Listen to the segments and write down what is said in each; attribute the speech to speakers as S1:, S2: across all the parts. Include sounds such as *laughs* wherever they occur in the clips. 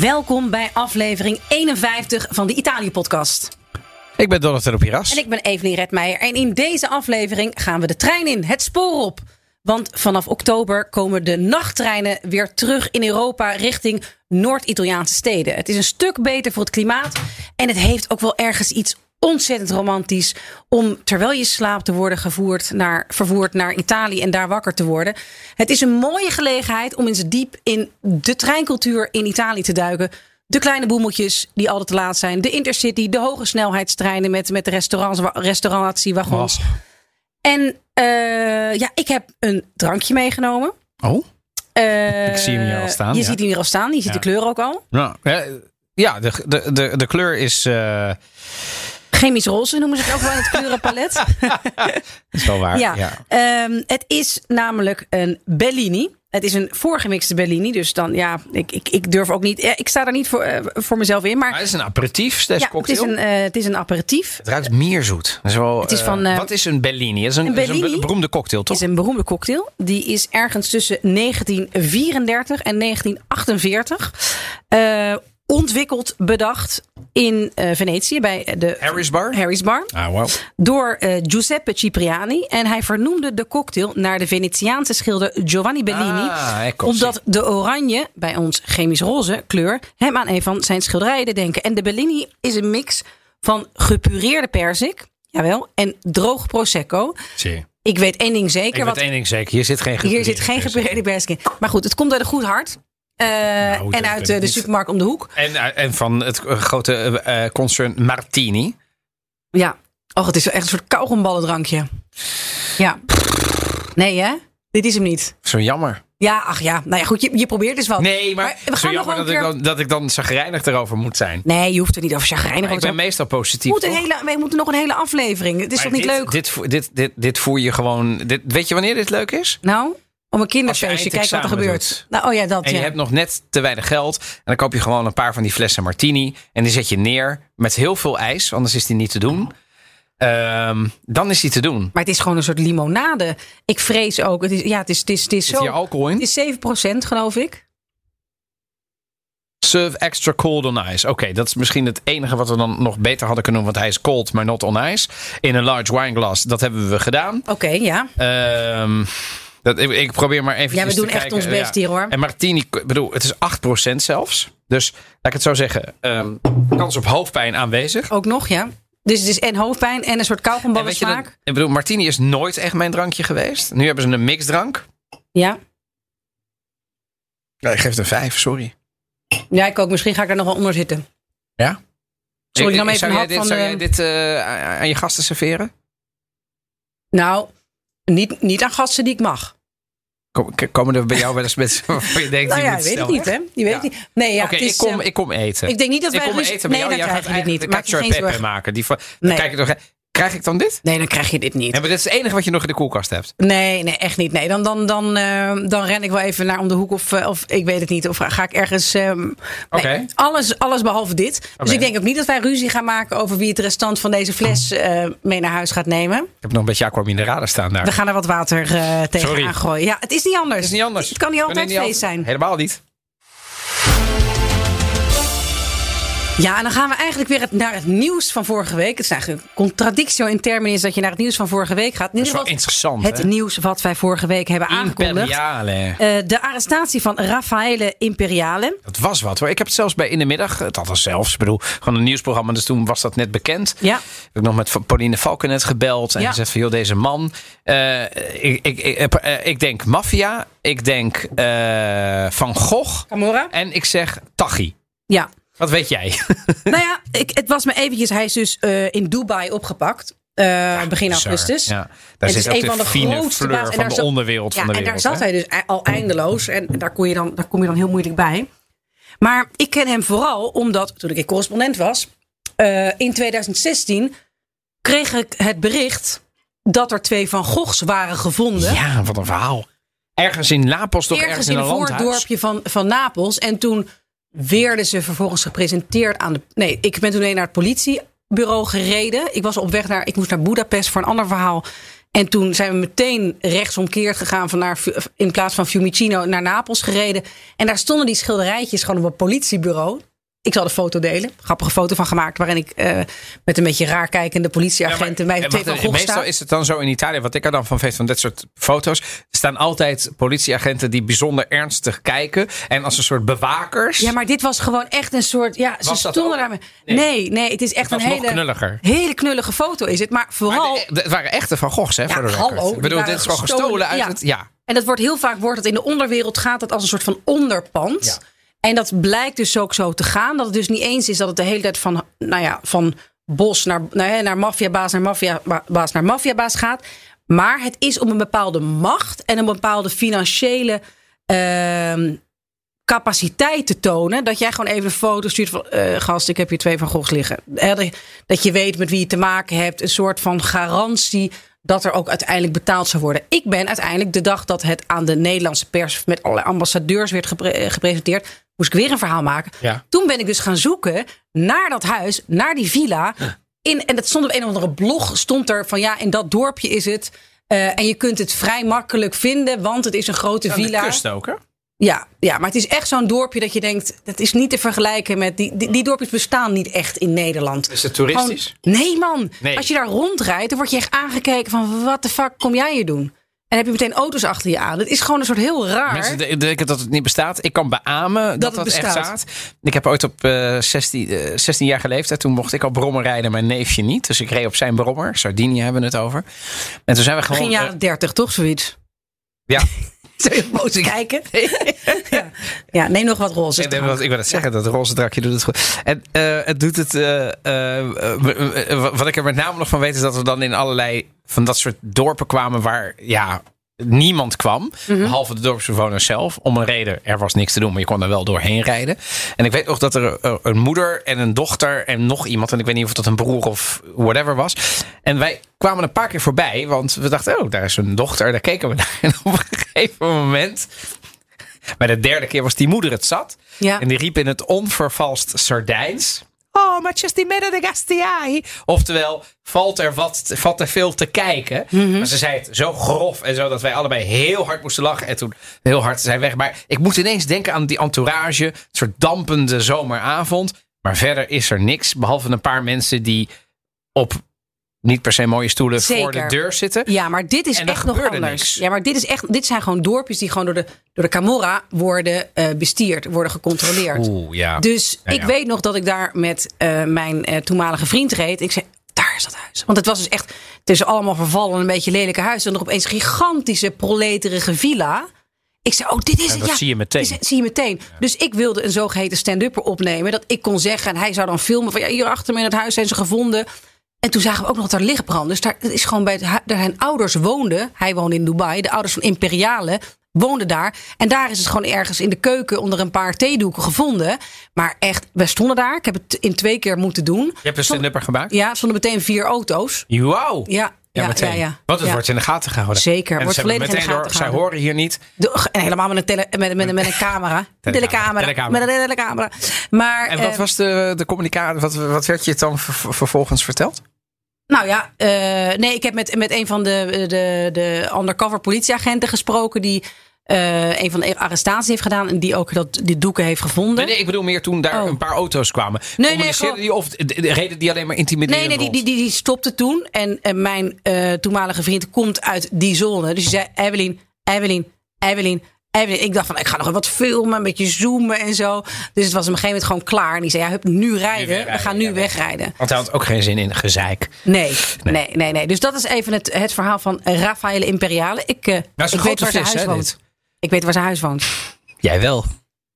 S1: Welkom bij aflevering 51 van de Italië-podcast.
S2: Ik ben Donatello Piras.
S1: En ik ben Evelien Redmeijer. En in deze aflevering gaan we de trein in, het spoor op. Want vanaf oktober komen de nachttreinen weer terug in Europa richting Noord-Italiaanse steden. Het is een stuk beter voor het klimaat. En het heeft ook wel ergens iets ontzettend romantisch om terwijl je slaapt te worden gevoerd naar, vervoerd naar Italië en daar wakker te worden. Het is een mooie gelegenheid om eens diep in de treincultuur in Italië te duiken. De kleine boemeltjes die altijd te laat zijn. De intercity, de hoge snelheidstreinen met, met de restaurants, restauratiewagons.
S2: Och.
S1: En eh, ja, ik heb een drankje meegenomen.
S2: Oh?
S1: Eh,
S2: Ik zie hem hier al staan,
S1: Je
S2: ja.
S1: ziet hem hier al staan. Je ziet
S2: Ja.
S1: de kleur ook al.
S2: Nou, eh, ja, de, de, de, de kleur is, eh,
S1: Chemisch roze noemen ze het ook wel in het
S2: *laughs*
S1: kleurenpalet.
S2: is wel waar.
S1: Ja.
S2: Ja.
S1: Ehm, het is namelijk een Bellini. Het is een voorgemixte Bellini. Dus dan, ja, ik, ik, ik durf ook niet. eh, Ik sta daar niet voor, eh, voor mezelf in. Maar
S2: Maar het is een aperitief, slash
S1: ja, het,
S2: cocktail.
S1: is een, eh, het is een aperitief.
S2: Het ruikt mierzoet. Dat is wel,
S1: Het is
S2: eh,
S1: van, eh,
S2: wat is een Bellini? Dat is een,
S1: een
S2: dat is een
S1: Bellini
S2: be- beroemde cocktail, toch?
S1: is een beroemde cocktail. Die is ergens tussen 1934 en 1948 eh, ontwikkeld, bedacht in eh, Venetië bij de
S2: Harris Bar?
S1: Harry's Bar
S2: Ah, wow.
S1: door eh, Giuseppe Cipriani. En hij vernoemde de cocktail naar de Venetiaanse schilder Giovanni Bellini.
S2: Ah, ecco,
S1: omdat de oranje, bij ons chemisch roze kleur, hem aan een van zijn schilderijen deed denken. En de Bellini is een mix van gepureerde perzik, jawel, en droog prosecco.
S2: Zie. Ik
S1: Ik weet één ding zeker.
S2: weet
S1: wat
S2: één ding zeker. Hier zit geen
S1: hier zit geen
S2: gepureerde
S1: gepureerde persik in. Maar goed, het komt uit een goed hart. eh, en uit
S2: dat weet
S1: eh,
S2: ik
S1: de
S2: niet.
S1: supermarkt om de hoek.
S2: En, eh, en van het eh, grote eh, eh, concern Martini.
S1: Ja. Och, het is wel echt een soort kauwgomballendrankje. Ja. Nee, hè? Dit is hem niet.
S2: Zo jammer.
S1: Ja, ach ja. Nou ja, goed, je, je probeert dus wel.
S2: Nee, maar,
S1: we
S2: zo
S1: gaan nog
S2: jammer
S1: wel een
S2: dat,
S1: keer...
S2: ik dan, dat ik dan chagrijnig erover moet zijn.
S1: Nee, je hoeft er niet over chagrijnig
S2: Maar
S1: over
S2: ik
S1: te
S2: ben
S1: zijn.
S2: meestal
S1: We
S2: positief,
S1: moeten, een
S2: toch?
S1: hele, we moeten nog een hele aflevering. Het is toch
S2: Maar
S1: niet
S2: dit,
S1: leuk?
S2: Dit, voer- dit, dit, dit voer je gewoon. Dit, weet je wanneer dit leuk is?
S1: Nou, om een
S2: Als je
S1: kinderfeestje. Kijk wat er
S2: eindexamen
S1: gebeurt.
S2: doet.
S1: Nou, oh ja, dat.
S2: En
S1: ja.
S2: je hebt nog net te weinig geld. En dan koop je gewoon een paar van die flessen martini. En die zet je neer met heel veel ijs. Anders is die niet te doen. Ehm, dan is die te doen.
S1: Maar het is gewoon een soort limonade. Ik vrees ook. Het is, ja, het is, het is, het is
S2: Zit hier
S1: zo.
S2: alcohol in?
S1: Het is 7% geloof ik.
S2: Serve extra cold on ice. Oké, dat is misschien het enige wat we dan nog beter hadden kunnen doen. Want hij is cold, maar not on ice. In een large wineglass. Dat hebben we gedaan.
S1: Oké, ja.
S2: Ehm, dat, ik, ik probeer maar even
S1: Ja, we
S2: te
S1: doen echt
S2: kijken.
S1: ons best hier, hoor.
S2: En Martini, ik bedoel, het is 8% zelfs. Dus laat ik het zo zeggen. ehm, kans op hoofdpijn aanwezig.
S1: Ook nog, ja. Dus het is en hoofdpijn en een soort
S2: En weet je
S1: kauwgomballensmaak.
S2: dat- ik bedoel, martini is nooit echt mijn drankje geweest. Nu hebben ze een mixdrank.
S1: Ja.
S2: Nee, ik geef het een vijf, sorry.
S1: ja, ik ook. Misschien ga ik er nog wel onder zitten.
S2: Ja?
S1: Sorry, ik nam even
S2: zou
S1: een
S2: jij
S1: hap
S2: dit,
S1: van
S2: zou
S1: de-
S2: jij dit eh, aan- aan je gasten serveren?
S1: Nou, niet, niet aan gasten die ik mag.
S2: Kom- k- Komen er bij jou wel eens *laughs* mensen waarvan je denkt...
S1: Nou
S2: die
S1: ja,
S2: moet
S1: weet ik
S2: snel
S1: niet,
S2: weg?
S1: hè? Je weet
S2: Ja.
S1: het niet. Nee, ja,
S2: Oké,
S1: het is,
S2: ik, kom,
S1: eh,
S2: ik kom eten.
S1: ik denk niet dat
S2: ik
S1: wij
S2: kom
S1: ruzie-
S2: eten bij
S1: nee,
S2: jou.
S1: dan
S2: Jij
S1: krijg je
S2: gaat
S1: dit niet.
S2: eigenlijk
S1: Maak
S2: de
S1: je geen
S2: cacio e
S1: zorgen.
S2: pepe maken. Die van, dan
S1: Nee.
S2: kijk ik toch, krijg ik dan dit?
S1: Nee, dan krijg je dit
S2: Ja,
S1: niet.
S2: maar dit is het enige wat je nog in de koelkast hebt.
S1: Nee, nee, echt niet. Nee, dan, dan, dan, eh, dan ren ik wel even naar om de hoek of, eh, of ik weet het niet. Of ga ik ergens... ehm, nee,
S2: Oké.
S1: alles, alles behalve dit. Dus
S2: Oké.
S1: ik denk ook niet dat wij ruzie gaan maken over wie het restant van deze fles eh, mee naar huis gaat nemen.
S2: Ik heb nog een beetje aqua minerale staan daar.
S1: We gaan er wat water eh
S2: Sorry.
S1: tegenaan gooien. Ja, het is niet anders.
S2: Het is niet anders.
S1: Het kan niet altijd
S2: Kunnen
S1: feest
S2: altijd-
S1: zijn.
S2: Helemaal niet.
S1: Ja, en dan gaan we eigenlijk weer het, naar het nieuws van vorige week. Het is eigenlijk een contradictio in termen is dat je naar het nieuws van vorige week gaat. In
S2: Dat is
S1: ieder
S2: wel
S1: geval
S2: interessant,
S1: het
S2: hè?
S1: nieuws wat wij vorige week hebben aangekondigd.
S2: Imperiale.
S1: Eh, de arrestatie van Raffaele Imperiale.
S2: Dat was wat hoor. Ik heb het zelfs bij In de Middag, het had zelfs, ik bedoel, gewoon een nieuwsprogramma, dus toen was dat net bekend.
S1: Ja.
S2: Heb ik nog met Fa- Pauline Valkenet gebeld en
S1: Ja.
S2: gezegd van, joh, deze man. eh, ik, ik, ik, eh, ik denk maffia, ik denk eh, Van Gogh
S1: Camorra?
S2: en ik zeg Tachi.
S1: Ja.
S2: Wat weet jij?
S1: nou ja, ik, het was me eventjes. Hij is dus eh, in Dubai opgepakt. eh, begin
S2: *laughs* Bizar.
S1: augustus.
S2: Ja.
S1: Het
S2: Daar zit
S1: is een
S2: ook
S1: van de
S2: de fine
S1: grootste baas- en
S2: fleur
S1: daar
S2: van de
S1: zat-
S2: onderwereld
S1: Ja,
S2: van de
S1: en
S2: wereld.
S1: daar zat
S2: hè?
S1: hij dus ei- al eindeloos. En daar, kon je dan, daar kom je dan heel moeilijk bij. Maar ik ken hem vooral omdat, toen ik correspondent was, eh, in 2016 kreeg ik het bericht dat er twee Van Goghs waren gevonden.
S2: Ja, wat een verhaal. Ergens in Napels, toch ergens,
S1: ergens in
S2: een
S1: een
S2: landhuis.
S1: voordorpje van, van Napels. En toen werden ze vervolgens gepresenteerd aan de... Nee, ik ben toen heen naar het politiebureau gereden. Ik was op weg naar... Ik moest naar Budapest voor een ander verhaal. En toen zijn we meteen rechtsomkeerd gegaan van naar, Fu- in plaats van Fiumicino naar Napels gereden. En daar stonden die schilderijtjes gewoon op een politiebureau. Ik zal de foto delen. Grappige foto van gemaakt. Waarin ik eh, met een beetje raar kijkende politieagenten bij
S2: Eh,
S1: Van
S2: wacht,
S1: Gogh
S2: meestal
S1: sta.
S2: is het dan zo in Italië, wat ik er dan van vind, van dit soort foto's. Er staan altijd politieagenten die bijzonder ernstig kijken. En als een soort bewakers.
S1: Ja, maar dit was gewoon echt een soort. Ja, ze
S2: Was dat
S1: stonden
S2: ook?
S1: daar. met- Nee, nee, het is echt
S2: Het
S1: een
S2: was nog
S1: hele,
S2: knulliger.
S1: hele knullige foto is het. Maar
S2: Maar
S1: vooral.
S2: de- de- het waren echte Van Goghs, hè? voor de record.
S1: hallo, die
S2: Ik bedoel,
S1: waren
S2: dit is gewoon gestolen, uit
S1: ja.
S2: het... Ja.
S1: En dat wordt heel vaak wordt dat in de onderwereld gaat dat als een soort van onderpand.
S2: Ja.
S1: En dat blijkt dus ook zo te gaan. Dat het dus niet eens is dat het de hele tijd van, nou ja, van bos naar, nou ja, naar maffiabaas, naar maffiabaas, naar maffiabaas gaat. Maar het is om een bepaalde macht en een bepaalde financiële ehm, capaciteit te tonen. Dat jij gewoon even een foto stuurt van... eh, gast, ik heb hier twee van Goghs liggen. Hè, dat- dat je weet met wie je te maken hebt. Een soort van garantie dat er ook uiteindelijk betaald zou worden. Ik ben uiteindelijk de dag dat het aan de Nederlandse pers... met alle ambassadeurs werd gepre- eh, gepresenteerd... moest ik weer een verhaal maken.
S2: Ja.
S1: Toen ben ik dus gaan zoeken naar dat huis, naar die villa. In, en dat stond op een of andere blog. Stond er van ja, in dat dorpje is het... eh, en je kunt het vrij makkelijk vinden, want het is een grote
S2: Aan de
S1: villa.
S2: kust ook, hè?
S1: Ja, ja, maar het is echt zo'n dorpje dat je denkt... dat is niet te vergelijken met... die, die, die dorpjes bestaan niet echt in Nederland.
S2: Is het toeristisch?
S1: Gewoon- nee man,
S2: Nee.
S1: als je daar rondrijdt... dan word je echt aangekeken van... wat de fuck kom jij hier doen? En heb je meteen auto's achter je aan. Het is gewoon een soort heel raar...
S2: Mensen de- denken dat het niet bestaat. Ik kan beamen dat dat,
S1: het
S2: echt
S1: bestaat.
S2: staat. Ik heb ooit op eh 16, eh, 16 jaar geleefd. Toen mocht ik al brommer rijden, mijn neefje niet. Dus ik reed op zijn brommer. Sardinië hebben we het over. En toen zijn we gewoon...
S1: Begin
S2: eh,
S1: jaren dertig, toch
S2: *laughs*
S1: zoiets?
S2: ja.
S1: Zou je boos kijken? ja. ja, neem nog wat roze.
S2: Ik wil, ik wil het zeggen, dat roze drakje doet het goed. En eh, het doet het. eh, eh, eh, w- w- wat ik er met name nog van weet, is dat we dan in allerlei van dat soort dorpen kwamen waar ja, niemand kwam. Behalve de dorpsbewoners zelf. Om een reden, er was niks te doen, maar je kon er wel doorheen rijden. En ik weet nog dat er eh, een moeder en een dochter en nog iemand. En ik weet niet of dat een broer of whatever was. En wij kwamen een paar keer voorbij, want we dachten, oh, daar is een dochter. Daar keken we *laughs* naar. En op een gegeven moment. Bij de derde keer was die moeder het zat.
S1: Ja.
S2: En die riep in het onvervalst Sardijns. Oh, maar just die midden de gastiai. Oftewel, valt er wat te- valt er veel te kijken. Maar ze zei het zo grof en zo dat wij allebei heel hard moesten lachen. En toen heel hard zijn weg. Maar ik moet ineens denken aan die entourage. Een soort dampende zomeravond. Maar verder is er niks. Behalve een paar mensen die op niet per se mooie stoelen voor de
S1: Zeker.
S2: deur zitten.
S1: Ja, maar dit is
S2: En er
S1: echt nog
S2: gebeurde
S1: anders.
S2: niks.
S1: Ja, maar dit, is echt, dit zijn gewoon dorpjes die gewoon door de, door de Camorra worden eh, bestierd, worden gecontroleerd.
S2: Oeh, ja.
S1: Dus
S2: Ja,
S1: ik
S2: ja.
S1: weet nog dat ik daar met eh, mijn eh, toenmalige vriend reed. Ik zei, daar is dat huis. Want het was dus echt tussen allemaal vervallen en een beetje lelijke huizen. En er opeens gigantische proleterige villa. Ik zei, oh, dit is het.
S2: dat
S1: ja.
S2: zie je meteen.
S1: Dit is- zie je meteen. Dus ik wilde een zogeheten stand-upper opnemen. Dat ik kon zeggen, en hij zou dan filmen van, ja, hier achter me in het huis zijn ze gevonden. En toen zagen we ook nog dat er lichtbrand. Dus daar dat is gewoon bij het hu- daar zijn ouders woonden. Hij woonde in Dubai. De ouders van Imperiale woonden daar. En daar is het gewoon ergens in de keuken onder een paar theedoeken gevonden. Maar echt, we stonden daar. Ik heb het in twee keer moeten doen.
S2: Je hebt een stand-upper gemaakt?
S1: Ja, er stonden meteen vier auto's.
S2: Wauw.
S1: Ja,
S2: Ja,
S1: ja, ja.
S2: meteen.
S1: ja,
S2: Want het
S1: Ja.
S2: wordt in de gaten gehouden.
S1: Zeker,
S2: En
S1: wordt
S2: ze hebben
S1: volledig in de
S2: meteen
S1: gaten
S2: door, Zij
S1: gehouden.
S2: horen hier niet.
S1: De- en helemaal met een, tele, met, met, met een camera. Telecamera.
S2: Telecamera.
S1: Met een telecamera. Maar,
S2: En wat
S1: eh,
S2: was de, de communicatie? Wat, wat werd je dan ver- vervolgens verteld?
S1: Nou ja, eh, nee, ik heb met, met een van de, de, de undercover politieagenten gesproken. die eh, een van de arrestaties heeft gedaan. en die ook dat, die doeken heeft gevonden.
S2: Nee, nee, ik bedoel meer toen daar
S1: Oh.
S2: een paar auto's kwamen.
S1: nee,
S2: Communiceerden
S1: gewoon-
S2: die of de- de- reden die alleen maar
S1: Nee,
S2: intimiderend
S1: nee, die, die, die, die stopte toen. En, en mijn eh, toenmalige vriend komt uit die zone. Dus die zei, Evelyn, Evelyn, Evelyn, Evelyn. Ik dacht van, ik ga nog even wat filmen, een beetje zoomen en zo. Dus het was op een gegeven moment gewoon klaar. En die zei, ja, hup, nu rijden.
S2: wegrijden,
S1: We gaan nu
S2: ja.
S1: wegrijden.
S2: Want hij had ook geen zin in gezeik.
S1: Nee, nee, nee, nee, Dus dat is even het, het verhaal van Rafaele Imperiale. Ik, eh,
S2: Dat is een
S1: ik weet
S2: grote
S1: waar zijn
S2: vis,
S1: huis
S2: hè,
S1: woont.
S2: dit.
S1: Ik weet waar zijn huis woont.
S2: Jij wel.
S1: Eh,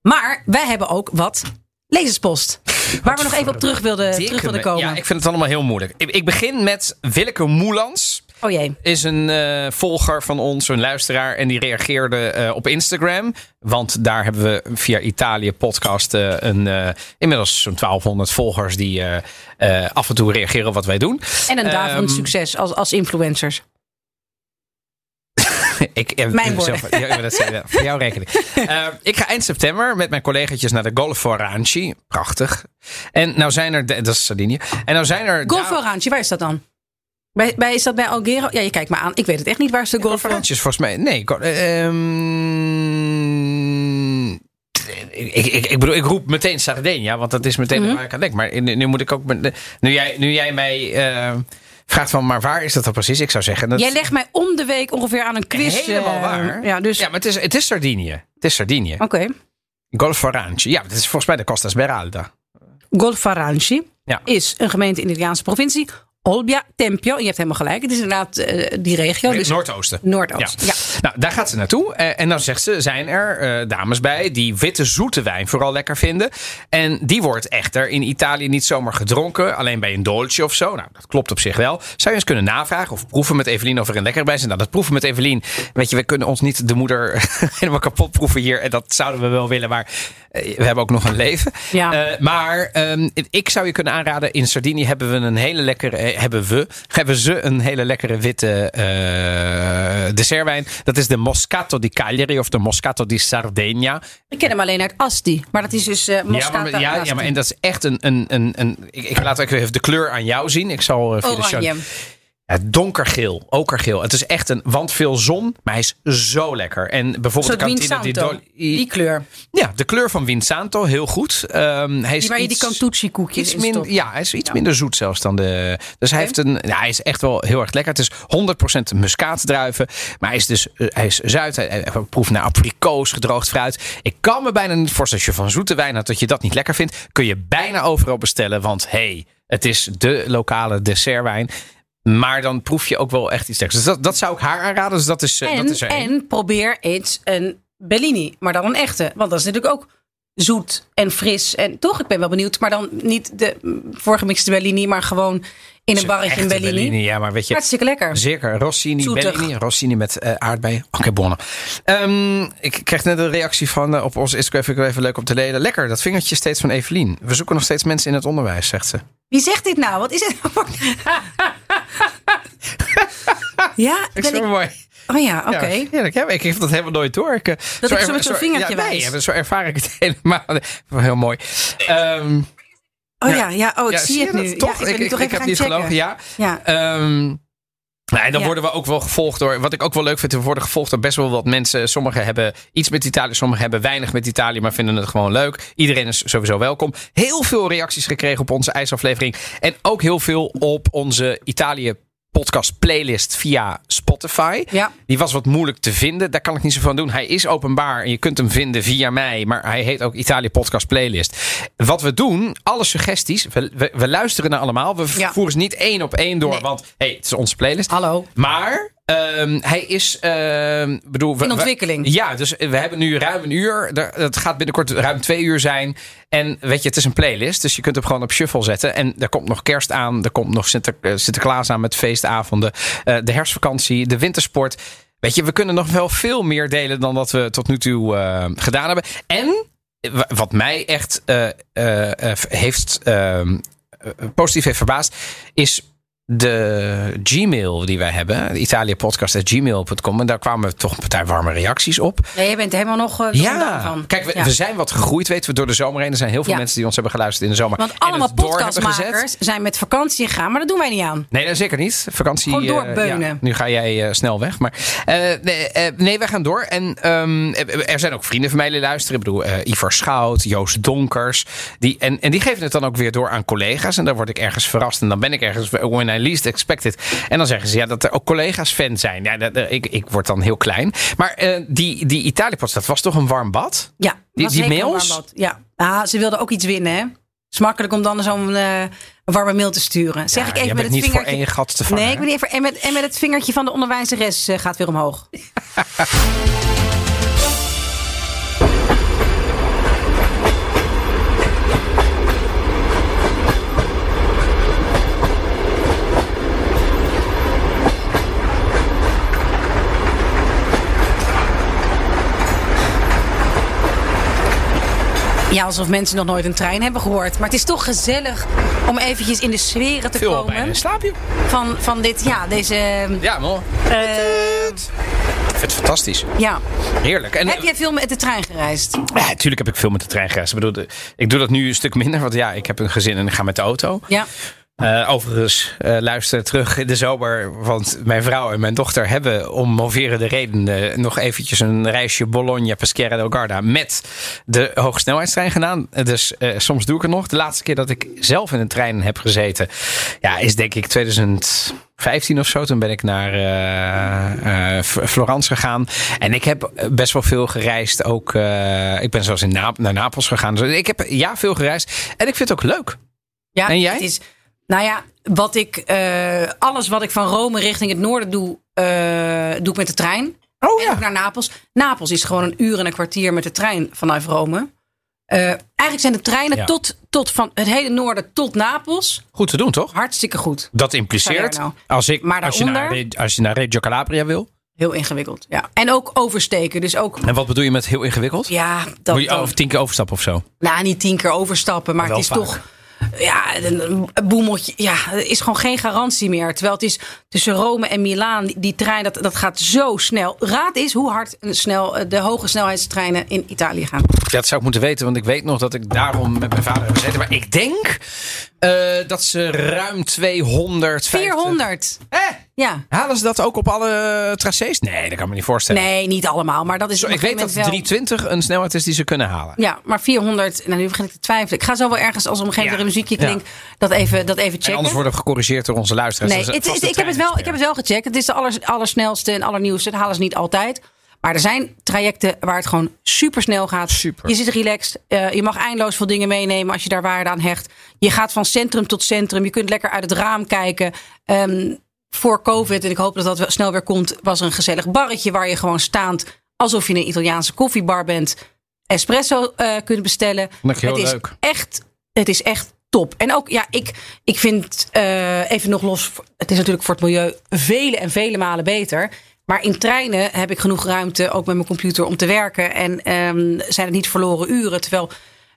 S1: Maar wij hebben ook wat
S2: *laughs*
S1: lezerspost. Waar we nog even op terug wilden,
S2: Dikke
S1: terug wilden
S2: me-
S1: komen.
S2: Ja, ik vind het allemaal heel moeilijk. Ik, ik begin met Willeke Moelans.
S1: Oh jee.
S2: is een eh, volger van ons, een luisteraar. En die reageerde eh, op Instagram. Want daar hebben we via Italië podcast eh, een, eh, inmiddels zo'n 1200 volgers die eh, eh, af en toe reageren op wat wij doen. *laughs*
S1: En een daverend
S2: Ehm,
S1: succes als, als influencers.
S2: Ik, eh,
S1: Mijn
S2: zelf- ja, maar dat zei je wel. voor jouw rekening. Eh, ik ga eind september met mijn collega's naar de Golfo Ranchi. Prachtig. En nou zijn er, dat is Sardinië. En nou zijn er...
S1: Golf Oranje, waar is dat dan? Bij, bij, is dat bij Algero? Ja, je kijkt me aan. Ik weet het echt niet waar ze de goal van...
S2: Fernandjes volgens mij. Nee, Cor- eh, ehm, ik, ik, ik bedoel, ik roep meteen Sardinia, want dat is meteen
S1: Mhm.
S2: waar ik aan denk. Maar nu, nu moet ik ook. met- Nu jij, nu jij mij eh, vraagt van, maar waar is dat dan precies? Ik zou zeggen. Dat
S1: Jij legt mij om de week ongeveer aan een quiz.
S2: helemaal
S1: eh,
S2: waar.
S1: Ja, dus... Oh.
S2: Ja, maar het is, het is Sardinië. Het is Sardinië.
S1: Oké.
S2: Golf Varantje. Ja, dat is volgens mij de Costa
S1: Oh,
S2: Smeralda.
S1: Golfarangi
S2: Ja.
S1: is een gemeente in de Italiaanse provincie. Olbia Tempio. En je hebt helemaal gelijk. Het is inderdaad eh, die regio.
S2: In het
S1: Dus
S2: Noordoosten.
S1: Noordoost. Ja.
S2: Ja. Nou, daar gaat ze naartoe. Eh, en dan zegt ze, zijn er eh, dames bij die witte zoete wijn vooral lekker vinden. En die wordt echter in Italië niet zomaar gedronken. Alleen bij een dolce of zo. Nou, dat klopt op zich wel. Zou je eens kunnen navragen of proeven met Evelien of er een lekker bij zijn? Nou, dat proeven met Evelien. Weet je, we kunnen ons niet de moeder *laughs* helemaal kapot proeven hier. En dat zouden we wel willen, maar eh, we hebben ook nog een leven.
S1: Ja.
S2: Eh, maar ehm, ik zou je kunnen aanraden, in Sardinië hebben we een hele lekkere, eh, hebben we, hebben ze een hele lekkere witte eh, dessertwijn. Dat is de Moscato di Cagliari of de Moscato di Sardegna.
S1: Ik ken hem alleen uit Asti. Maar dat is dus eh
S2: ja,
S1: Moscata.
S2: maar, ja, ja, maar en dat is echt een, een, een, een ik, ik laat ook even de kleur aan jou zien. Ik zal eh, via de show-
S1: Oranje.
S2: ja, donkergeel, okergeel. Het is echt een, want veel zon, maar hij is zo lekker. En
S1: Een soort
S2: bijvoorbeeld de Cantina di
S1: Winsanto. Die kleur.
S2: Ja, de kleur van Winsanto, heel goed. Ehm hij is
S1: Die waar je die
S2: iets-
S1: cantucci koekjes
S2: Iets
S1: in
S2: minder,
S1: stopt.
S2: ja, hij is iets minder zoet zelfs dan de. Dus hij, heeft een, ja, hij is echt wel heel erg lekker. Het is 100% muskaatdruiven. Maar hij is dus eh, hij is zuid. Hij, hij proeft naar abrikoos, gedroogd fruit. Ik kan me bijna niet voorstellen als je van zoete wijn houdt dat je dat niet lekker vindt. Kun je bijna overal bestellen. Want hey, het is de lokale dessertwijn. Maar dan proef je ook wel echt iets lekkers. Dus dat, dat zou ik haar aanraden. Dus dat is, eh, dat
S1: En,
S2: is er één.
S1: en probeer eens een Bellini. Maar dan een echte. Want dat is natuurlijk ook zoet en fris. En toch, ik ben wel benieuwd. Maar dan niet de mm, voorgemixte Bellini. Maar gewoon in een barretje
S2: Echte
S1: een Bellini.
S2: Ja, maar weet je,
S1: Hartstikke lekker.
S2: Zeker, Rossini,
S1: Zoetig.
S2: Bellini, Rossini met eh aardbeien. Oké, bonnen. Ehm, ik kreeg net een reactie van eh, op onze Instagram, vind ik wel even leuk om te lezen. Lekker, dat vingertje steeds van Evelien. We zoeken nog steeds mensen in het onderwijs, zegt ze.
S1: Wie zegt dit nou? Wat is
S2: *laughs*
S1: het? ja,
S2: Ik
S1: ben
S2: zo
S1: ik...
S2: mooi.
S1: Oh ja, oké.
S2: Ja, heerlijk, ja, maar ik geef dat helemaal nooit door. Ik, eh,
S1: Dat
S2: zo
S1: ik zo
S2: er-
S1: met zo'n vingertje
S2: ja,
S1: wijs.
S2: Nee, zo ervaar ik het *laughs* helemaal. Heel mooi. Ehm,
S1: Oh ja, ja. Oh, ik zie het
S2: dat
S1: nu.
S2: Toch?
S1: Ja,
S2: ik
S1: ik ben nu
S2: ik-
S1: toch
S2: ik
S1: even
S2: heb
S1: gaan
S2: niet
S1: checken.
S2: gelogen, ja.
S1: Ja.
S2: Ehm, nou, en dan
S1: Ja.
S2: worden we ook wel gevolgd door. Wat ik ook wel leuk vind, we worden gevolgd door best wel wat mensen. Sommigen hebben iets met Italië, sommigen hebben weinig met Italië, maar vinden het gewoon leuk. Iedereen is sowieso welkom. Heel veel reacties gekregen op onze ijsaflevering. En ook heel veel op onze Italië podcast playlist via Spotify.
S1: Ja.
S2: Die was wat moeilijk te vinden. Daar kan ik niet zoveel aan doen. Hij is openbaar en je kunt hem vinden via mij. Maar hij heet ook Italië Podcast Playlist. Wat we doen, alle suggesties. We, we, we luisteren naar allemaal. We
S1: Ja.
S2: voeren ze niet één op één door.
S1: Nee.
S2: Want hey, het is onze playlist.
S1: Hallo.
S2: Maar ehm, hij is. ehm, bedoel, we-
S1: In
S2: we-
S1: ontwikkeling.
S2: ja, dus we hebben nu ruim een uur. Er- Het gaat binnenkort ruim twee uur zijn. En weet je, het is een playlist. Dus je kunt hem gewoon op shuffle zetten. En er komt nog kerst aan. Er komt nog Sinter, eh, Sinterklaas aan met feestavonden. eh, de herfstvakantie, de wintersport. Weet je, we kunnen nog wel veel meer delen dan dat we tot nu toe eh, gedaan hebben. En wa- wat mij echt eh, eh, eh, heeft ehm, eh, positief heeft verbaasd, is de Gmail die wij hebben, italiapodcast.gmail.com. En daar kwamen toch een partij warme reacties op.
S1: Nee, je bent helemaal nog eh,
S2: Ja,
S1: vandaan van.
S2: kijk, we,
S1: Ja.
S2: we zijn wat gegroeid, weten we, door de zomer heen. Er zijn heel veel
S1: Ja.
S2: mensen die ons hebben geluisterd in de zomer.
S1: Want
S2: en
S1: allemaal
S2: het door hebben gezet.
S1: podcastmakers zijn met vakantie gegaan. Maar dat doen wij niet aan.
S2: Nee, dat zeker niet. Vakantie.
S1: Gewoon
S2: eh,
S1: doorbeunen.
S2: ja, nu ga jij eh, snel weg. Maar eh, nee, eh, nee, wij gaan door. En ehm, er zijn ook vrienden van mij die luisteren. Ik bedoel, eh Ivar Schout, Joost Donkers. Die, en, en die geven het dan ook weer door aan collega's. En dan word ik ergens verrast. En dan ben ik ergens when I least expect it. En dan zeggen ze ja, dat er ook collega's fan zijn. Ja, dat, eh, ik, ik word dan heel klein. Maar eh, die, die Italië-podcast, dat was toch een warm bad?
S1: Ja.
S2: Die-
S1: was
S2: die
S1: zeker een
S2: mails?
S1: warm bad. Ja. Ah, ze wilden ook iets winnen, hè? Het is makkelijk om dan zo'n eh, warme mail te sturen. Zeg ik
S2: Ja, jij
S1: even met het
S2: bent niet voor
S1: vingertje.
S2: één gat te vangen.
S1: nee, ik
S2: hè?
S1: ben niet even. En met, en met het vingertje van de onderwijzeres eh, gaat weer omhoog. Ja, alsof mensen nog nooit een trein hebben gehoord. Maar het is toch gezellig om eventjes in de sferen te
S2: Veel op
S1: komen.
S2: en slaap je?
S1: Van, van dit, ja, deze.
S2: Ja, man.
S1: eh,
S2: Ik vind het fantastisch.
S1: ja.
S2: Heerlijk. En,
S1: Heb jij veel met de trein gereisd?
S2: Ja, natuurlijk heb ik veel met de trein gereisd. Ik bedoel, de- ik doe dat nu een stuk minder. Want ja, ik heb een gezin en ik ga met de auto.
S1: Ja.
S2: Eh, overigens, eh, luister terug in de zomer. Want mijn vrouw en mijn dochter hebben om moverende redenen nog eventjes een reisje Bologna, Pescara del Garda met de hogesnelheidstrein gedaan. Dus eh, soms doe ik het nog. De laatste keer dat ik zelf in een trein heb gezeten, ja, is denk ik 2015 of zo. Toen ben ik naar eh, eh, F- Florence gegaan. En ik heb eh, best wel veel gereisd. Ook, eh, ik ben zelfs in Nap- naar Napels gegaan. Dus ik heb ja, veel gereisd. En ik vind het ook leuk.
S1: Ja,
S2: En jij?
S1: Het is, nou ja, wat ik, eh, alles wat ik van Rome richting het noorden doe, eh, doe ik met de trein.
S2: Oh
S1: En ook naar Napels. Napels is gewoon een uur en een kwartier met de trein vanuit Rome. Eh, eigenlijk zijn de treinen
S2: Ja.
S1: tot, tot van het hele noorden tot Napels
S2: Goed te doen, toch?
S1: hartstikke goed.
S2: Dat
S1: Salerno.
S2: impliceert, als, ik,
S1: Maar
S2: als, je naar,
S1: daaronder?
S2: Re- als je naar Reggio Calabria wil.
S1: Heel ingewikkeld. Ja. En ook oversteken. Dus ook,
S2: En wat bedoel je met heel ingewikkeld?
S1: ja, dat,
S2: Moet je over tien keer overstappen of zo?
S1: nou, niet tien keer overstappen, maar
S2: Wel
S1: het is
S2: vaak.
S1: toch. Ja, een een boemeltje. Ja, er is gewoon geen garantie meer. Terwijl het is tussen Rome en Milaan, die, die trein, dat, dat gaat zo snel. Raad is hoe hard en snel eh, de hoge snelheidstreinen in Italië gaan.
S2: Ja, dat zou ik moeten weten, want ik weet nog dat ik daarom met mijn vader heb gezeten. Maar ik denk eh, dat ze ruim 200.
S1: 400.
S2: Hè?
S1: Ja.
S2: Halen ze dat ook op alle tracés? Nee, dat kan me niet voorstellen.
S1: Nee, niet allemaal, maar dat is.
S2: Zo,
S1: op een
S2: ik weet
S1: gegeven
S2: dat
S1: moment wel-
S2: 320 een snelheid is die ze kunnen halen.
S1: Ja, maar 400. Nou, nu begin ik te twijfelen. Ik ga zo wel ergens, als er op een gegeven moment
S2: Ja.
S1: er een muziekje
S2: Ja.
S1: klinkt, dat even, dat even
S2: En
S1: checken.
S2: anders worden we gecorrigeerd door onze luisteraars.
S1: Nee,
S2: Dat is
S1: het,
S2: vast
S1: het-
S2: een
S1: ik, heb het wel, ik heb
S2: treinexpert.
S1: het wel gecheckt. Het is de allers, allersnelste en allernieuwste. Dat halen ze niet altijd. Maar er zijn trajecten waar het gewoon super snel gaat.
S2: Super.
S1: Je zit relaxed. Eh, je mag eindeloos veel dingen meenemen als je daar waarde aan hecht. Je gaat van centrum tot centrum. Je kunt lekker uit het raam kijken. Ehm, voor COVID, en ik hoop dat dat wel snel weer komt, was er een gezellig barretje waar je gewoon staand, alsof je in een Italiaanse koffiebar bent, espresso eh, kunt bestellen.
S2: Vond ik heel
S1: het is
S2: leuk.
S1: echt, het is echt top. En ook, ja, ik, ik vind, eh, even nog los, het is natuurlijk voor het milieu vele en vele malen beter. Maar in treinen heb ik genoeg ruimte, ook met mijn computer, om te werken. En ehm, zijn het niet verloren uren. Terwijl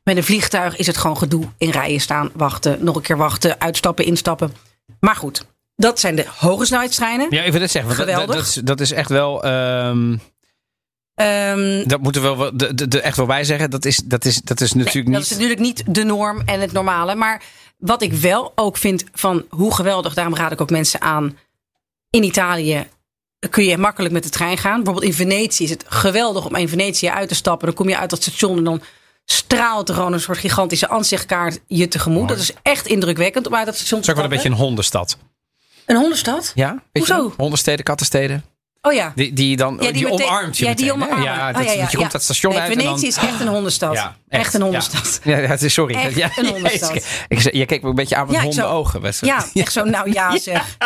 S1: met een vliegtuig is het gewoon gedoe. In rijen staan, wachten, nog een keer wachten, uitstappen, instappen. Maar goed, dat zijn de hoge snelheidstreinen.
S2: Ja, ik wil het zeggen. want dat- Dat,
S1: Geweldig.
S2: dat, is- dat is echt wel. ehm,
S1: Ehm,
S2: Dat moeten we wel, de, de, de- echt wel bij zeggen. Dat is, dat is, dat is natuurlijk
S1: Dat
S2: niet.
S1: is natuurlijk niet de norm en het normale. Maar wat ik wel ook vind van hoe geweldig, daarom raad ik ook mensen aan. In Italië kun je makkelijk met de trein gaan. Bijvoorbeeld in Venetië is het geweldig om in Venetië uit te stappen. Dan kom je uit dat station en dan straalt er gewoon een soort gigantische ansichtkaart je tegemoet. Dat is echt indrukwekkend om uit dat station te
S2: Het is ook wel een beetje
S1: stappen.
S2: een hondenstad.
S1: Een hondenstad?
S2: Ja? Weet
S1: Hoezo?
S2: Je, hondensteden, kattensteden.
S1: Oh ja.
S2: Die, die dan die,
S1: meteen-
S2: omarmt je.
S1: Ja, die
S2: meteen, hè?
S1: omarmt.
S2: Ja,
S1: Oh,
S2: dat,
S1: ja, ja,
S2: want je
S1: ja.
S2: komt dat station
S1: Nee,
S2: uit. en
S1: Venetië
S2: dan-
S1: is echt een hondenstad.
S2: Ja,
S1: echt. een
S2: ja. *laughs*
S1: hondenstad.
S2: Ja, ja, het is sorry.
S1: Echt
S2: ja,
S1: een hondenstad.
S2: Jezus, *laughs* ik, je keek me een beetje aan met
S1: Ja, ik zou-
S2: hondenogen. Wij- *laughs*
S1: Ja, echt zo, nou ja zeg.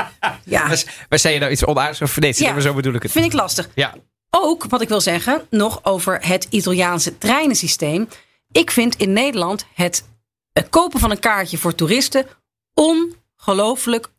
S1: Ja,
S2: wij- Wij zei je nou iets onaardigs of Venetië?
S1: Ja.
S2: Nee, maar zo bedoel ik het.
S1: vind ik lastig.
S2: Ja.
S1: Ook wat ik wil zeggen, nog over het Italiaanse treinensysteem. Ik vind in Nederland het eh, kopen van een kaartje voor toeristen ongelooflijk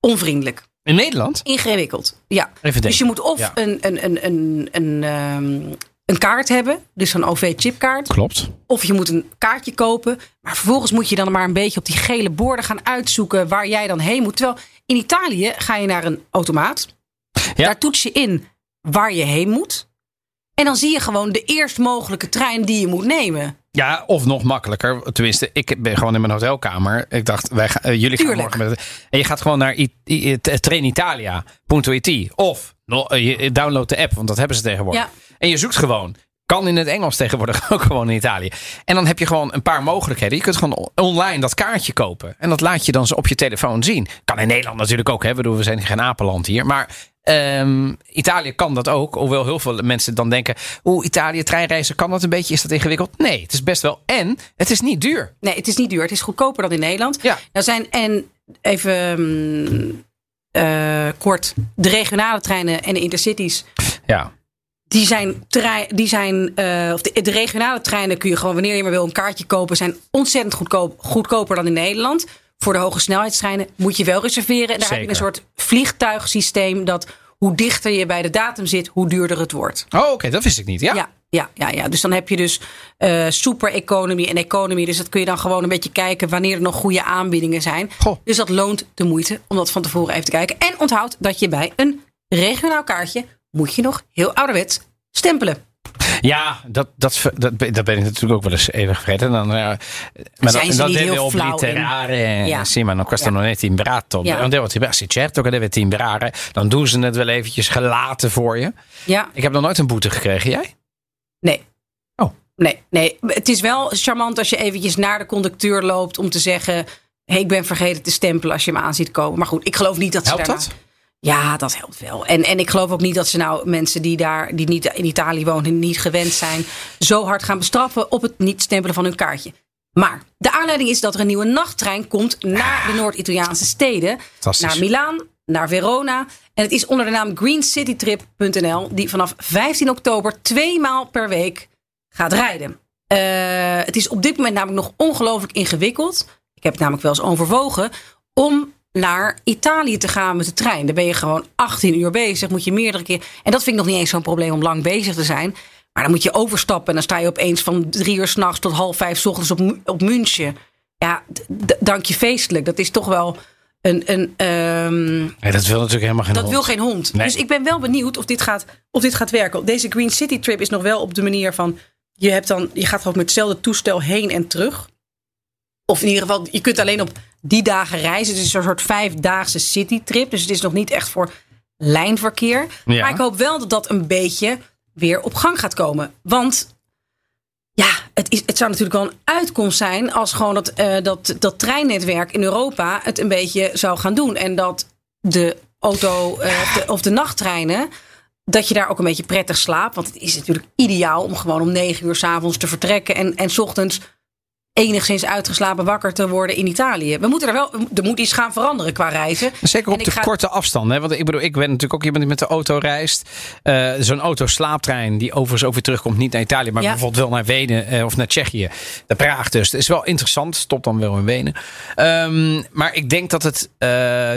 S1: onvriendelijk.
S2: In Nederland?
S1: Ingewikkeld. Ja.
S2: Even
S1: Dus je
S2: denken.
S1: moet of
S2: Ja.
S1: een, een, een, een, een, ehm, een kaart hebben, dus zo'n OV-chipkaart.
S2: Klopt.
S1: Of je moet een kaartje kopen. Maar vervolgens moet je dan maar een beetje op die gele borden gaan uitzoeken waar jij dan heen moet. Terwijl in Italië ga je naar een automaat.
S2: Ja.
S1: Daar toets je in waar je heen moet. En dan zie je gewoon de eerst mogelijke trein die je moet nemen.
S2: Ja, of nog makkelijker. Tenminste, ik ben gewoon in mijn hotelkamer. Ik dacht, wij gaan, eh, jullie
S1: Tuurlijk.
S2: gaan morgen met En je gaat gewoon naar I- I- I- Train Italia, Punto IT. Of no- eh, je download de app, want dat hebben ze tegenwoordig.
S1: Ja.
S2: En je zoekt gewoon. Kan in het Engels tegenwoordig *laughs* ook gewoon in Italië. En dan heb je gewoon een paar mogelijkheden. Je kunt gewoon on- online dat kaartje kopen. En dat laat je dan zo op je telefoon zien. Kan in Nederland natuurlijk ook. Hè? Ik bedoel, we zijn geen apenland hier. Maar ehm, Italië kan dat ook. Hoewel heel veel mensen dan denken... Oeh, Italië, treinreizen, kan dat een beetje? Is dat ingewikkeld? Nee, het is best wel. En het is niet duur.
S1: Nee, het is niet duur. Het is goedkoper dan in Nederland.
S2: Ja.
S1: Nou zijn, en even mm, eh, kort, de regionale treinen en de intercities.
S2: Ja,
S1: Die zijn, trein, die zijn eh, of de, de regionale treinen kun je gewoon wanneer je maar wil een kaartje kopen, zijn ontzettend goedkoop, goedkoper dan in Nederland. Voor de hoge snelheidstreinen moet je wel reserveren. En daar heb je
S2: Zeker.
S1: een soort vliegtuigsysteem dat hoe dichter je bij de datum zit, hoe duurder het wordt.
S2: Oh, oké, dat wist ik niet. Ja.
S1: Ja, ja, ja, ja. Dus dan heb je dus eh, super economy en economy. Dus dat kun je dan gewoon een beetje kijken wanneer er nog goede aanbiedingen zijn.
S2: Goh.
S1: Dus dat loont de moeite om dat van tevoren even te kijken. En onthoud dat je bij een regionaal kaartje moet je nog heel ouderwets stempelen.
S2: Ja, dat, dat, dat, dat ben ik natuurlijk ook wel eens even vergeten. Dan, eh, maar
S1: Zijn
S2: dat,
S1: ze
S2: dat
S1: niet
S2: deden we
S1: heel
S2: op eh,
S1: flauw in?
S2: literare.
S1: Ja.
S2: Ja. Sì, ma non, questo
S1: Ja.
S2: non è timbrato.
S1: Ja.
S2: Want wat timbrato, certo che deve timbrare. Dan doen ze het wel eventjes gelaten voor je.
S1: Ja,
S2: Ik heb nog nooit een boete gekregen, jij?
S1: nee.
S2: Oh.
S1: Nee, nee. Het is wel charmant als je eventjes naar de conducteur loopt om te zeggen... Hey, ik ben vergeten te stempelen als je me aan ziet komen. Maar goed, ik geloof niet dat ze
S2: Helpt
S1: daarna-
S2: dat?
S1: Ja, dat helpt wel. En, en ik geloof ook niet dat ze nou mensen die daar die niet in Italië wonen en niet gewend zijn, zo hard gaan bestraffen op het niet stempelen van hun kaartje. Maar de aanleiding is dat er een nieuwe nachttrein komt naar de Noord-Italiaanse steden.
S2: Fantastisch.
S1: Naar Milaan, naar Verona. En het is onder de naam greencitytrip.nl die vanaf 15 oktober twee maal per week gaat rijden. Eh, het is op dit moment namelijk nog ongelooflijk ingewikkeld. Ik heb het namelijk wel eens overwogen om naar Italië te gaan met de trein. Daar ben je gewoon 18 uur bezig, moet je meerdere keer. En dat vind ik nog niet eens zo'n probleem om lang bezig te zijn. Maar dan moet je overstappen en dan sta je opeens van drie uur s'nachts tot half vijf 's ochtends op, Mu- op München. Ja, d- d- dank je feestelijk. Dat is toch wel een. een ehm,
S2: Nee, dat wil natuurlijk helemaal geen
S1: dat
S2: hond.
S1: wil geen hond.
S2: Nee.
S1: Dus ik ben wel benieuwd of dit, gaat, of dit gaat werken. Deze Green City trip is nog wel op de manier van... je, hebt dan, je gaat gewoon met hetzelfde toestel heen en terug. Of in ieder geval, je kunt alleen op die dagen reizen. Dus Het is een soort vijfdaagse citytrip. Dus het is nog niet echt voor lijnverkeer.
S2: Ja.
S1: Maar ik hoop wel dat dat een beetje weer op gang gaat komen. Want ja, het, is, het zou natuurlijk wel een uitkomst zijn als gewoon dat, eh, dat, dat treinnetwerk in Europa het een beetje zou gaan doen. En dat de auto eh, of de, of de nachttreinen, dat je daar ook een beetje prettig slaapt. Want het is natuurlijk ideaal om gewoon om negen uur s'avonds te vertrekken en, en 's ochtends enigszins uitgeslapen wakker te worden in Italië. We moeten er wel, er moet iets gaan veranderen qua reizen.
S2: Zeker
S1: En
S2: op
S1: ik
S2: de
S1: ga-
S2: korte afstand. Hè? Want ik bedoel, ik ben natuurlijk ook iemand die met de auto reist. Eh, Zo'n auto-slaaptrein, die overigens ook weer terugkomt, niet naar Italië, maar
S1: Ja.
S2: bijvoorbeeld wel naar Wenen eh, of naar Tsjechië. Naar Praag dus. Dat is wel interessant. Stopt dan wel in Wenen. Ehm, maar ik denk dat het eh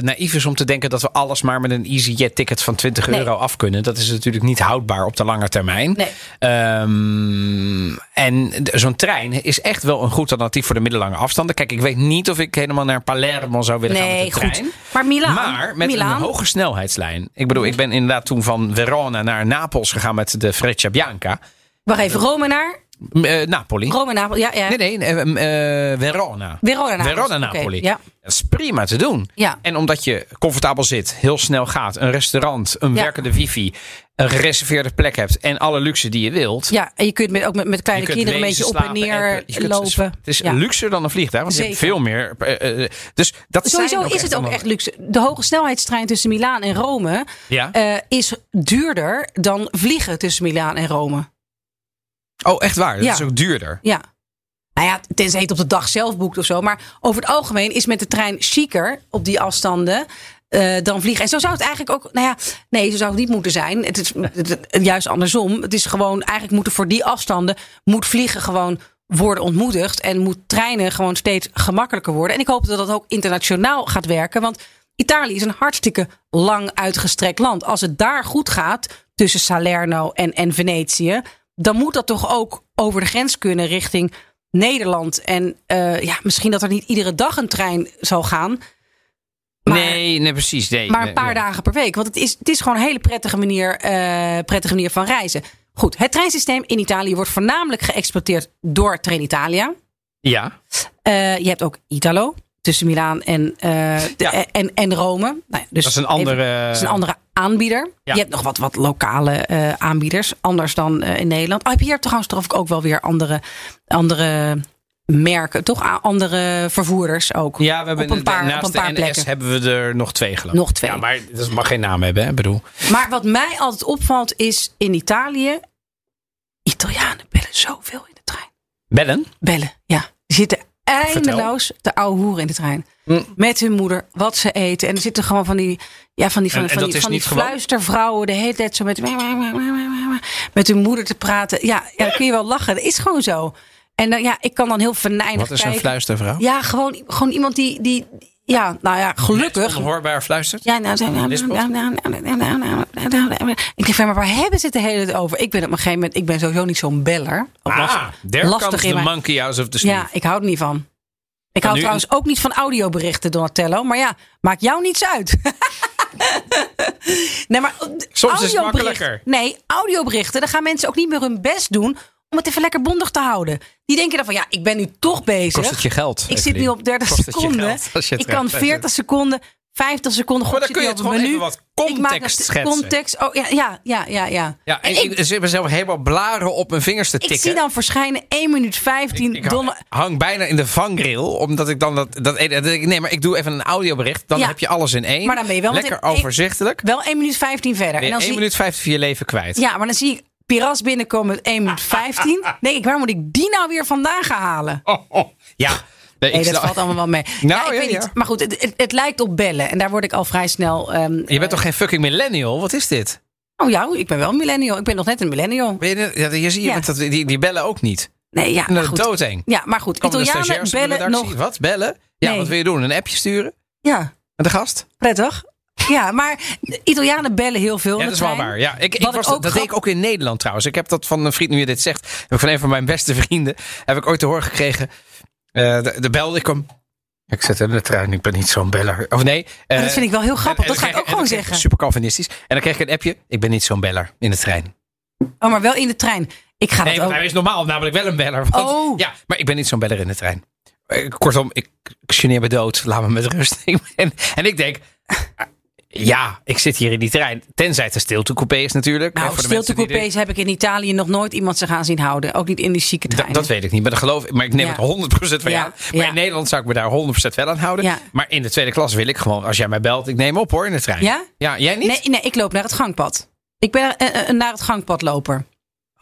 S2: naïef is om te denken dat we alles maar met een EasyJet ticket van 20
S1: Nee.
S2: euro af kunnen. Dat is natuurlijk niet houdbaar op de lange termijn.
S1: Nee.
S2: Ehm, en d- zo'n trein is echt wel een goed alternatief voor de middellange afstanden. Kijk, ik weet niet of ik helemaal naar Palermo zou willen gaan met
S1: Nee,
S2: de trein.
S1: goed. Maar Milaan,
S2: Maar met
S1: Nou, Milaan
S2: een hoge snelheidslijn. Ik bedoel, ik ben inderdaad toen van Verona naar Napels gegaan met de Freccia Bianca.
S1: wacht even, Rome naar
S2: M- eh, Napoli.
S1: Rome Napel, ja, ja.
S2: Nee, nee, eh, m- eh, Verona.
S1: Verona Napels.
S2: Verona
S1: Oké,
S2: Napoli.
S1: ja.
S2: Dat is prima te doen.
S1: Ja.
S2: En omdat je comfortabel zit, heel snel gaat, een restaurant, een
S1: Ja.
S2: werkende wifi, een gereserveerde plek hebt en alle luxe die je wilt.
S1: Ja, en je kunt met, ook met, met kleine
S2: Je kunt
S1: kinderen een beetje
S2: lezen,
S1: op en
S2: slapen
S1: neer
S2: je kunt-
S1: lopen.
S2: Het is
S1: Ja.
S2: luxer dan een vliegtuig, want je
S1: Zeker.
S2: hebt veel meer. eh, eh, dus dat
S1: Sowieso
S2: zijn
S1: is het ook
S2: allemaal-
S1: echt luxe. De hoge snelheidstrein tussen Milaan en Rome
S2: Ja.
S1: eh, is duurder dan vliegen tussen Milaan en Rome.
S2: oh, echt waar. Dat
S1: Ja.
S2: is ook duurder.
S1: Ja. Nou ja, tenzij je het op de dag zelf boekt of zo. Maar over het algemeen is met de trein chiquer op die afstanden eh, dan vliegen. En zo zou het eigenlijk ook. Nou ja, nee, zo zou het niet moeten zijn. Het is het- het- juist andersom. Het is gewoon eigenlijk moeten voor die afstanden. moet vliegen gewoon worden ontmoedigd. En moet treinen gewoon steeds gemakkelijker worden. En ik hoop dat dat ook internationaal gaat werken. Want Italië is een hartstikke lang uitgestrekt land. Als het daar goed gaat tussen Salerno en, en Venetië, dan moet dat toch ook over de grens kunnen richting Nederland. En eh, ja, misschien dat er niet iedere dag een trein zal gaan, Maar-
S2: nee, nee, precies. Nee,
S1: maar
S2: nee,
S1: een paar
S2: ja.
S1: dagen per week. Want het is, het is gewoon een hele prettige manier, eh, prettige manier van reizen. Goed, het treinsysteem in Italië wordt voornamelijk geëxploiteerd door Trenitalia.
S2: Ja.
S1: Eh, je hebt ook Italo tussen Milaan en, eh, de-
S2: Ja.
S1: en, en Rome. Nou ja, dus
S2: Dat is een
S1: even-
S2: andere-
S1: dat is een andere aanbieder.
S2: Eh, Ja.
S1: Je hebt nog wat, wat lokale eh, aanbieders, anders dan eh, in Nederland. Oh, heb je hier trouwens toch ook wel weer andere, andere merken, toch? A- Andere vervoerders ook.
S2: Ja, we hebben
S1: op een paar,
S2: naast
S1: op een paar
S2: de NS
S1: plekken.
S2: hebben we er nog twee geloof ik.
S1: Nog twee.
S2: Ja, maar dat mag geen naam hebben, hè? Ik bedoel.
S1: Maar wat mij altijd opvalt is in Italië, Italianen bellen zoveel in de trein.
S2: Bellen?
S1: Bellen, ja. Die zitten eindeloos de oude hoeren in de trein.
S2: Mm.
S1: Met hun moeder, wat ze eten. En er zitten gewoon van die, ja, van die, van,
S2: En- en
S1: van
S2: dat
S1: die,
S2: is
S1: van die
S2: niet gewoon?
S1: fluistervrouwen de hele tijd zo met, met hun moeder te praten. Ja, ja, dan kun je wel lachen. Dat is gewoon zo. En dan, ja, ik kan dan heel venijnig
S2: Wat is een
S1: kijken.
S2: fluistervrouw?
S1: Ja, gewoon, gewoon iemand die, die, ja, nou ja, gelukkig.
S2: Onhoorbaar fluistert?
S1: Ja, nou, nou, nou,
S2: Lispelt?
S1: nou, nou, nou, nou, nou, nou, nou, nou, nou. Ik denk van, maar waar hebben ze het de hele tijd over? Ik ben op een gegeven moment, ik ben sowieso niet zo'n beller. Ook lastig.
S2: Ah, there
S1: Lastig
S2: comes
S1: in
S2: the
S1: mijn-
S2: monkey house of the
S1: Ja,
S2: sneak.
S1: ik hou er niet van. Ik hou
S2: Nou, nu-
S1: trouwens ook niet van audioberichten, Donatello. Maar ja, maakt jou niets uit. *laughs* Nee, maar eh,
S2: Soms is het
S1: audiobericht-
S2: makkelijker.
S1: Nee, audioberichten, dan gaan mensen ook niet meer hun best doen om het even lekker bondig te houden. Die denken dan van, ja, ik ben nu toch bezig.
S2: Kost het je geld?
S1: ik zit nu op 30
S2: Kost het je
S1: seconden.
S2: geld als je het
S1: Ik kan
S2: recht hebt?
S1: 40 seconden, 50 seconden.
S2: Maar
S1: goed
S2: dan kun je het gewoon even wat context schetsen.
S1: Context, oh ja, ja, ja, ja. ja.
S2: Ja, en
S1: En
S2: ik, ik mezelf helemaal blaren op mijn vingers te
S1: ik
S2: tikken.
S1: zie dan verschijnen 1 minuut 15
S2: Ik hang,
S1: domme...
S2: hang bijna in de vangrail, omdat ik dan dat, dat, ene- dat ik- Nee, maar ik doe even een audiobericht. Dan
S1: Ja.
S2: heb je alles in één.
S1: Maar dan ben je wel
S2: Lekker
S1: meteen één-
S2: overzichtelijk.
S1: Wel 1 minuut 15 verder.
S2: Ben je
S1: en dan
S2: 1
S1: zie,
S2: minuut 50 van je leven kwijt.
S1: Ja, maar dan zie ik Piras binnenkomen met 1
S2: *laughs*
S1: minuut 15. denk ik, waar moet ik die nou weer vandaan gaan halen?
S2: Oh, oh. Ja. Nee,
S1: Nee,
S2: ik
S1: dat
S2: snap- Nou,
S1: valt allemaal wel
S2: *laughs*
S1: mee. ja, ik
S2: ja,
S1: weet
S2: ja.
S1: niet. Maar goed, het, het, het lijkt op bellen. En daar word ik al vrij snel... ehm,
S2: Je bent toch geen fucking millennial? Wat is dit?
S1: Oh ja, ik ben wel een millennial. Ik ben nog net een millennial.
S2: Ben je, ja, je ziet, je
S1: Ja.
S2: bent dat, die, die bellen ook niet.
S1: Nee, ja, maar
S2: Nou,
S1: goed.
S2: dood heen.
S1: Ja, maar goed.
S2: Komen de
S1: Italianen
S2: stagiairs op de
S1: bellen
S2: redactie?
S1: nog...
S2: Wat? Bellen? Ja,
S1: Nee.
S2: wat wil je doen? Een appje sturen?
S1: Ja,
S2: Met de gast?
S1: prettig. Ja, maar de Italianen bellen heel veel.
S2: Ja,
S1: in
S2: dat
S1: de
S2: is wel
S1: trein.
S2: waar. Ja, ik, ik
S1: Wat
S2: was,
S1: ik
S2: dat
S1: ook
S2: deed
S1: grap-
S2: ik ook in Nederland trouwens. Ik heb dat van een vriend, nu je dit zegt, heb ik van een van mijn beste vrienden, heb ik ooit te horen gekregen. Eh de, de belde ik hem. Ik zit in de trein, ik ben niet zo'n beller. Of nee. eh,
S1: Maar Oh, dat vind ik wel heel grappig.
S2: en-
S1: Dat
S2: en
S1: ga
S2: dan
S1: ik ook
S2: kreeg-
S1: gewoon
S2: en dan kreeg ik
S1: zeggen.
S2: Super calvinistisch. En dan kreeg ik een appje, ik ben niet zo'n beller in de trein.
S1: Oh, maar wel in de trein. Ik ga
S2: Nee,
S1: dat
S2: want
S1: ook.
S2: hij is normaal namelijk wel een beller. want-
S1: Oh.
S2: Ja, maar ik ben niet zo'n beller in de trein. Eh, Kortom, ik ik geneer me dood. Laat me met rust. *laughs* Ik ben- en ik denk, ah, ja, ik zit hier in die trein. Tenzij het een stiltecoupé is natuurlijk. hè,
S1: Nou,
S2: voor de mensen die dit-
S1: stiltecoupés heb ik in Italië nog nooit iemand zich aan zien houden. Ook niet in die zieke
S2: Da-
S1: treinen.
S2: dat weet ik niet, maar, dat geloof, ik- maar ik neem
S1: Ja.
S2: het 100% van
S1: Ja,
S2: jou. Maar
S1: ja.
S2: in Nederland zou ik me daar 100% wel aan houden.
S1: Ja.
S2: Maar in de tweede klas wil ik gewoon, als jij mij belt, ik neem op hoor in de trein.
S1: Ja?
S2: jij niet?
S1: nee, nee, ik loop naar het gangpad. Ik ben eh, eh, een naar het gangpadloper.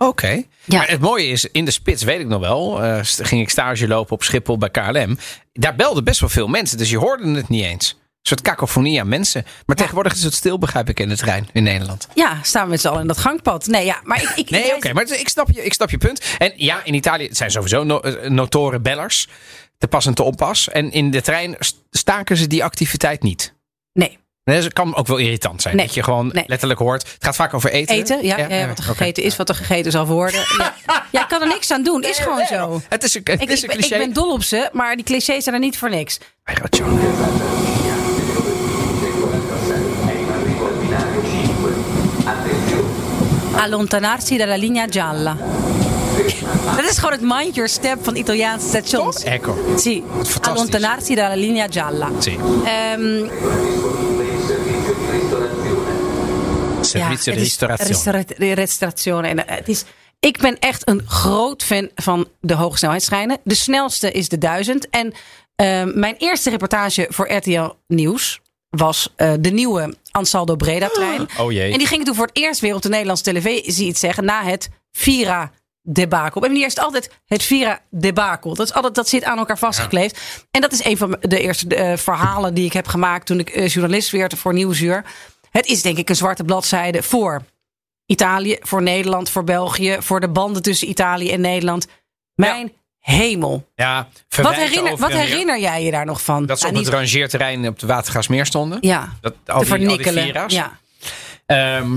S2: Oké.
S1: Ja.
S2: Maar het mooie is, in de spits weet ik nog wel, eh, st- ging ik stage lopen op Schiphol bij KLM. Daar belden best wel veel mensen, dus je hoorde het niet eens. Een soort cacophonie aan mensen. Maar tegenwoordig is het stil, begrijp ik, in de trein in Nederland.
S1: Ja, staan we met z'n allen in dat gangpad. Nee, ja, maar ik... ik
S2: Nee,
S1: ik-
S2: oké, maar het- ik snap, je, ik snap je punt. En ja, in Italië het zijn sowieso no, eh, notoren bellers. Te pas en te onpas. En in de trein st- staken ze die activiteit niet.
S1: Nee,
S2: Nee, dat kan ook wel irritant zijn.
S1: Nee.
S2: Dat je gewoon
S1: nee.
S2: letterlijk hoort. Het gaat vaak over eten.
S1: eten, ja, ja, ja, wat er
S2: oké.
S1: gegeten is, wat er gegeten zal worden.
S2: *laughs*
S1: Ja, ja ik kan er niks aan doen. Is gewoon zo.
S2: Het is een, het
S1: Ik,
S2: is
S1: ik,
S2: een
S1: ben- ik
S2: cliché.
S1: ben dol op ze, maar die clichés zijn er niet voor niks.
S2: Hij gaat janken.
S1: Allontanarsi dalla linea gialla. Dat is gewoon het mind your step van Italiaanse stations.
S2: Ecco.
S1: Zie,
S2: Fantastisch.
S1: allontanarsi dalla linea gialla.
S2: Sì.
S1: Ehm,
S2: Servizio
S1: het
S2: di
S1: is
S2: ristorazione.
S1: restaura- restaurazione. En eh, het is, ik ben echt een groot fan van de hogesnelheidstreinen. De snelste is de 1000. En eh, mijn eerste reportage voor RTL Nieuws was eh, de nieuwe Ansaldo Breda trein.
S2: Oh jee.
S1: En die ging toen voor het eerst weer op de Nederlandse televisie iets zeggen na het Vira debakel. En die eerst altijd het Vira debakel. Dat, is altijd, dat zit aan elkaar vastgekleefd. En dat is een van de eerste eh, verhalen die ik heb gemaakt toen ik eh, journalist werd voor Nieuwsuur. Het is denk ik een zwarte bladzijde voor Italië, voor Nederland, voor België, voor de banden tussen Italië en Nederland. Mijn hemel.
S2: Ja,
S1: Wat
S2: verwijt
S1: herinner,
S2: over
S1: wat
S2: en weer.
S1: herinner jij je daar nog van?
S2: Dat ze
S1: Nou,
S2: op het
S1: niet-
S2: rangeerterrein op de Watergasmeer stonden.
S1: ja,
S2: Dat, al
S1: te
S2: die, al die
S1: vernikkelen.
S2: vira's.
S1: ja.
S2: Ehm,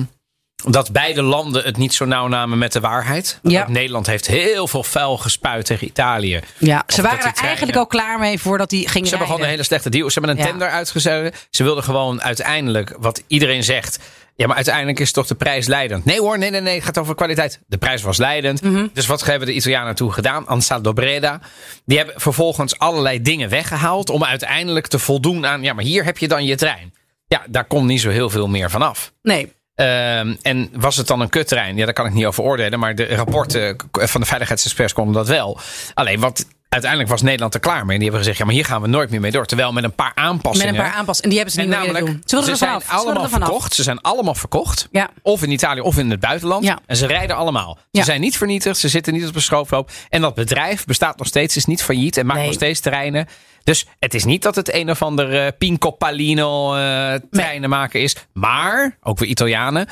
S2: dat beide landen het niet zo nauw namen met de waarheid.
S1: Ja.
S2: Want Nederland heeft heel veel vuil gespuit tegen Italië.
S1: ja, ze waren
S2: dat die
S1: er
S2: treinen-
S1: eigenlijk al klaar mee voordat die ging
S2: Ze hebben gewoon een hele slechte deal. Ze hebben een
S1: Ja.
S2: tender uitgezet. Ze wilden gewoon uiteindelijk, wat iedereen zegt. Ja, maar uiteindelijk is toch de prijs leidend. Nee hoor, nee, nee, nee. Het gaat over kwaliteit. De prijs was leidend. Dus wat hebben de Italianen toen gedaan? Ansaldo Breda. Die hebben vervolgens allerlei dingen weggehaald. om uiteindelijk te voldoen aan. Ja, maar hier heb je dan je trein. Ja, daar komt niet zo heel veel meer van af.
S1: Nee,
S2: Ehm, en was het dan een kutterrein? Ja, daar kan ik niet over oordelen. Maar de rapporten k- van de veiligheidsexperts konden dat wel. Alleen wat. Uiteindelijk was Nederland er klaar mee. En die hebben gezegd: ja, maar hier gaan we nooit meer mee door. Terwijl met een paar
S1: met
S2: aanpassingen.
S1: een paar aanpassingen. En die hebben ze
S2: en
S1: niet meer willen
S2: namelijk,
S1: doen. Ze willen
S2: ze
S1: er
S2: zijn
S1: vanaf. Ze willen
S2: allemaal
S1: er vanaf.
S2: verkocht. Ze zijn allemaal verkocht.
S1: Ja.
S2: Of in Italië of in het buitenland.
S1: Ja.
S2: En ze rijden allemaal. Ze
S1: Ja.
S2: zijn niet vernietigd. Ze zitten niet op een schroothoop. En dat bedrijf bestaat nog steeds. Is niet failliet en maakt
S1: Nee.
S2: nog steeds terreinen. Dus het is niet dat het een of ander eh, Pinco Palino eh treinenmaker is. Maar, ook weer Italianen.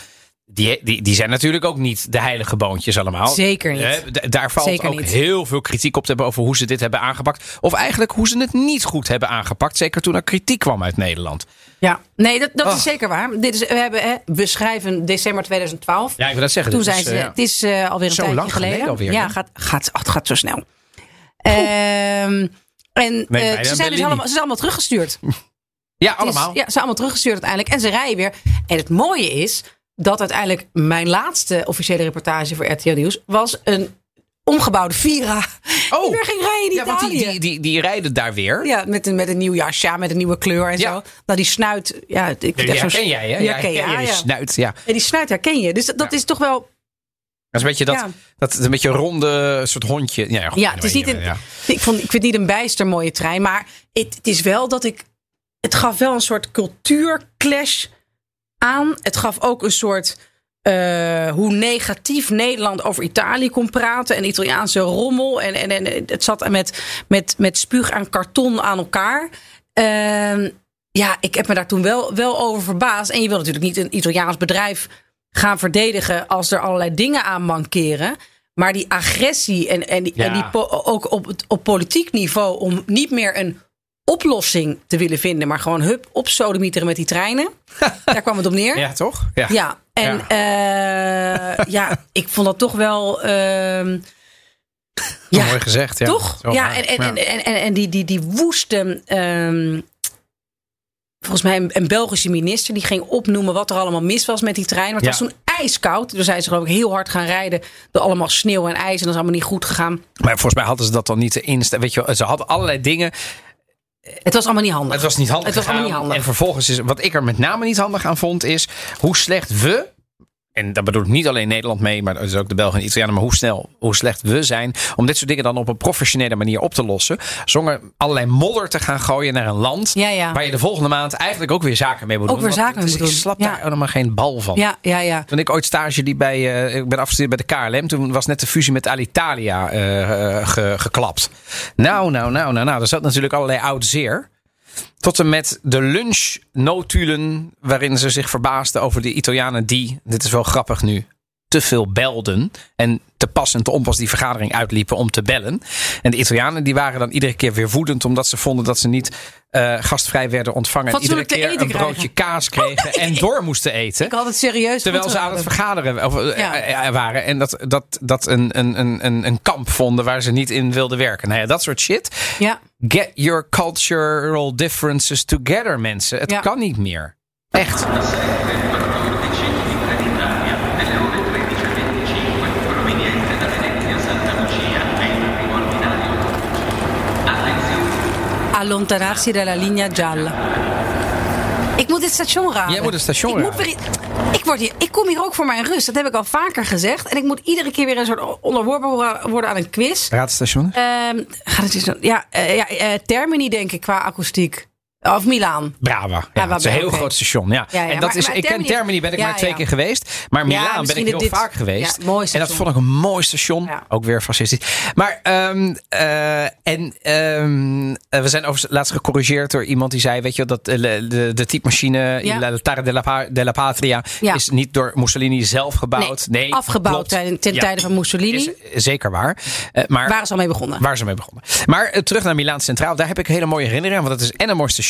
S2: Die, die, die zijn natuurlijk ook niet de heilige boontjes allemaal.
S1: Zeker niet.
S2: Eh, d- daar valt
S1: Zeker
S2: ook
S1: niet.
S2: heel veel kritiek op te hebben over hoe ze dit hebben aangepakt. Of eigenlijk hoe ze het niet goed hebben aangepakt. Zeker toen er kritiek kwam uit Nederland.
S1: Ja, nee, dat, dat
S2: Oh.
S1: is zeker waar. Dit is, we, hebben, hè, we schrijven december 2012.
S2: Ja, ik wil dat zeggen.
S1: Toen
S2: Dit
S1: zijn
S2: is,
S1: ze,
S2: eh,
S1: het is eh, alweer een
S2: Zo
S1: tijdje
S2: lang geleden alweer,
S1: ja,
S2: hè?
S1: gaat, gaat, oh, het gaat zo snel. Ehm, en eh,
S2: wij
S1: ze,
S2: dan
S1: zijn dus
S2: Bellini.
S1: allemaal, ze zijn allemaal teruggestuurd.
S2: Ja,
S1: Het is-
S2: *laughs* allemaal.
S1: ja, ze zijn allemaal teruggestuurd uiteindelijk. En ze rijden weer. En het mooie is dat uiteindelijk mijn laatste officiële reportage voor RTL Nieuws was een omgebouwde Vira.
S2: Oh.
S1: Die weer ging rijden in
S2: Ja, want
S1: Italië.
S2: die, die, die, die rijden daar weer.
S1: Ja, met een, met een nieuw jasje, ja, met een nieuwe kleur en
S2: Ja.
S1: zo. Nou, die snuit. Ja, ik heb
S2: Ja,
S1: echt zo'n-
S2: ken jij, hè?
S1: Ja, ken
S2: jij,
S1: jij.
S2: die
S1: ja.
S2: snuit, ja.
S1: En die snuit herken je. Dus dat, dat is toch wel.
S2: Dat is een beetje dat,
S1: Ja.
S2: dat een beetje ronde soort hondje. Ja, goed,
S1: Ja, het is niet
S2: anyway,
S1: een.
S2: ja.
S1: *laughs* Ik, vond, ik vind het niet een bijster mooie trein. Maar het, het is wel dat ik. Het gaf wel een soort cultuurclash aan. Het gaf ook een soort. eh, hoe negatief Nederland over Italië kon praten. En Italiaanse rommel. En, en, en het zat met, met, met spuug en karton aan elkaar. Ehm, ja, ik heb me daar toen wel, wel over verbaasd. En je wil natuurlijk niet een Italiaans bedrijf gaan verdedigen als er allerlei dingen aan mankeren. Maar die agressie en, en, die-
S2: Ja.
S1: en die po- ook op, het- op politiek niveau om niet meer een oplossing te willen vinden, maar gewoon hup opsodemieteren met die treinen. daar kwam het op neer. Ja,
S2: Ja, toch? Ja.
S1: en ja. ja, ik vond dat toch wel. ehm, ja.
S2: Mooi gezegd, ja.
S1: toch?
S2: Zo
S1: ja,
S2: waar,
S1: en, en,
S2: ja.
S1: en, en, en, en die, die, die woeste. ehm, volgens mij een, een Belgische minister die ging opnoemen wat er allemaal mis was met die trein. Want het
S2: Ja.
S1: was toen ijskoud. Toen zijn ze geloof ik heel hard gaan rijden. Door allemaal sneeuw en ijs. En dat is allemaal niet goed gegaan.
S2: Maar volgens mij hadden ze dat dan niet inst. Weet je, wel, ze hadden allerlei dingen.
S1: Het was allemaal niet handig.
S2: Het was niet handig.
S1: Het was allemaal niet
S2: gedaan.
S1: handig.
S2: En vervolgens is wat ik er met name niet handig aan vond, is hoe slecht we. En daar bedoel ik niet alleen Nederland mee, maar dat is ook de Belgen en de Italianen. Maar hoe snel, hoe slecht we zijn om dit soort dingen dan op een professionele manier op te lossen. Zonder allerlei modder te gaan gooien naar een land.
S1: Ja, ja.
S2: Waar je de volgende maand eigenlijk ook weer zaken mee moet
S1: Ook
S2: doen.
S1: weer
S2: Want
S1: zaken
S2: het
S1: mee
S2: is-
S1: moet
S2: Ik
S1: doen.
S2: slap
S1: Ja.
S2: daar helemaal geen bal van.
S1: Ja, ja, ja.
S2: Toen ik ooit stage liep bij, eh, ik ben afgestudeerd bij de KLM, toen was net de fusie met Alitalia eh, eh, ge- geklapt. Nou, nou, nou, nou, nou, er zat natuurlijk allerlei oud zeer. Tot en met de lunchnotulen waarin ze zich verbaasden over de Italianen die, dit is wel grappig nu, te veel belden. En te pas en te onpas die vergadering uitliepen om te bellen. En de Italianen die waren dan iedere keer weer woedend omdat ze vonden dat ze niet eh, gastvrij werden ontvangen. En iedere
S1: Fatsoenlijk te
S2: keer
S1: eten
S2: een broodje
S1: krijgen.
S2: kaas kregen
S1: *laughs*
S2: en door moesten eten.
S1: Ik had het serieus.
S2: Terwijl
S1: goed
S2: ze aan het
S1: geraden.
S2: vergaderen of, eh,
S1: Ja.
S2: eh, eh, waren. En dat, dat, dat een, een, een, een, een kamp vonden waar ze niet in wilden werken. Nou ja, dat soort shit.
S1: Ja.
S2: Get your cultural differences together, mensen. Het
S1: Ja.
S2: kan niet meer. Echt.
S1: Allontanarsi dalla linea gialla. Ik moet dit station raden.
S2: Jij moet het station
S1: ik
S2: raden.
S1: Moet weer- ik, word hier, ik kom hier ook voor mijn rust. Dat heb ik al vaker gezegd. En ik moet iedere keer weer een soort onderworpen worden aan een quiz.
S2: Raadstation?
S1: Ehm, gaat het eens doen? Ja, eh, ja eh, Termini denk ik qua akoestiek. Of Milaan.
S2: Brava. Ja,
S1: waar
S2: het is een
S1: ben-
S2: heel
S1: oké.
S2: groot station. Ja.
S1: Ja, ja,
S2: en dat
S1: maar-
S2: is,
S1: maar
S2: ik ken
S1: Termini-
S2: Termini, ben ik
S1: Ja,
S2: maar twee
S1: ja.
S2: keer geweest. Maar Milaan ben
S1: misschien
S2: ik heel
S1: dit-
S2: vaak geweest.
S1: Ja, mooi
S2: en dat
S1: station.
S2: vond ik een mooi station.
S1: Ja.
S2: Ook weer fascistisch. Maar ehm, eh, en, ehm, eh, we zijn overigens laatst gecorrigeerd door iemand die zei: Weet je wel, dat eh, de, de, de typemachine
S1: Ja.
S2: in La Tara della, Pa- della Patria
S1: Ja.
S2: is niet door Mussolini zelf gebouwd. Nee,
S1: afgebouwd
S2: klopt.
S1: ten, ten
S2: Ja,
S1: tijde van Mussolini.
S2: is zeker waar. Eh, maar
S1: Waar is al mee begonnen?
S2: Waar ze mee begonnen. Maar eh, terug naar Milaan Centraal. Daar heb ik hele mooie herinneringen aan. Want het is en een mooi station.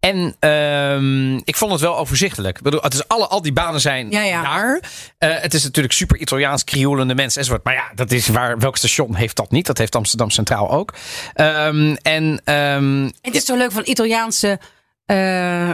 S2: En ehm, ik vond het wel overzichtelijk. Ik bedoel, het is alle, al die banen zijn
S1: Ja, ja.
S2: daar. Eh, het is natuurlijk super Italiaans, krioelende mensen enzovoort. Maar ja, dat is waar, welk station heeft dat niet? Dat heeft Amsterdam Centraal ook. Ehm, en ehm,
S1: En Het is zo leuk van Italiaanse. eh,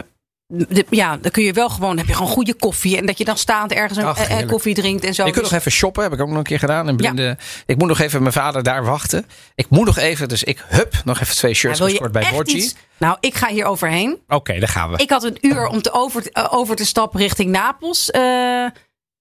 S1: de- ja, dan kun je wel gewoon. Heb je gewoon goede koffie. En dat je dan staand ergens een
S2: Ach,
S1: eh, eh,
S2: heerlijk.
S1: koffie drinkt en zo.
S2: Ik
S1: Dus-
S2: kunt nog even shoppen, heb ik ook nog een keer gedaan. En blinde, Ik moet nog even mijn vader daar wachten. Ik moet nog even, dus ik hup, nog even twee
S1: Ja,
S2: shirts
S1: wil je
S2: gescoord bij
S1: echt
S2: Borgi.
S1: iets- Nou, ik ga hier overheen.
S2: Oké, daar gaan we.
S1: Ik had een uur om te over, eh, over te stappen richting Napels. eh,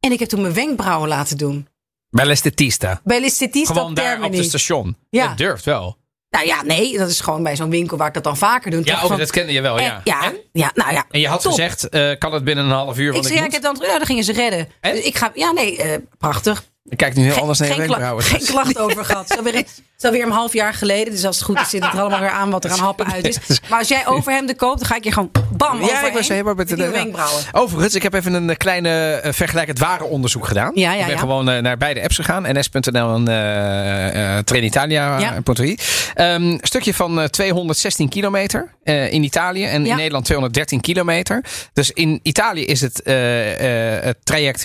S1: en ik heb toen mijn wenkbrauwen laten doen.
S2: Bij Lestetista.
S1: Bij Listetista
S2: Gewoon daar op
S1: Termini.
S2: het station.
S1: Ja.
S2: Dat durft wel.
S1: Nou ja, nee, dat is gewoon bij zo'n winkel waar ik dat dan vaker doe.
S2: Ja,
S1: Toch
S2: ook
S1: van-
S2: oh, dat kende je wel,
S1: Eh,
S2: ja.
S1: ja,
S2: En?
S1: ja, nou ja.
S2: En je had
S1: top.
S2: gezegd, eh, kan het binnen een half uur?
S1: Ik
S2: Want
S1: zei,
S2: ik,
S1: ja, ik heb
S2: moet.
S1: dan terug. Ja, dan gingen ze redden.
S2: En?
S1: Dus ik ga, ja, nee, eh, prachtig.
S2: Ik kijk nu heel anders naar je
S1: geen,
S2: wenkbrauwen.
S1: geen klacht over gehad. Het is alweer- het is alweer een half jaar geleden. Dus als het goed is, zit het er allemaal weer aan wat er aan happen uit is.
S2: *laughs*
S1: Maar als jij overhemden koopt, dan ga ik je gewoon bam
S2: Ja, ik was helemaal met
S1: de
S2: de
S1: wenkbrauwen.
S2: Overigens, ik heb even een eh, kleine eh, vergelijkend ware onderzoek gedaan.
S1: Ja, ja,
S2: ik ben
S1: ja.
S2: gewoon eh, naar beide apps gegaan. NS.nl en eh eh Trenitalia.
S1: Ja.
S2: eh, Punto I. Ehm, Een stukje van eh, 216 kilometer eh, in Italië. En
S1: Ja.
S2: in Nederland 213 kilometer. Dus in Italië is het, eh, eh, het traject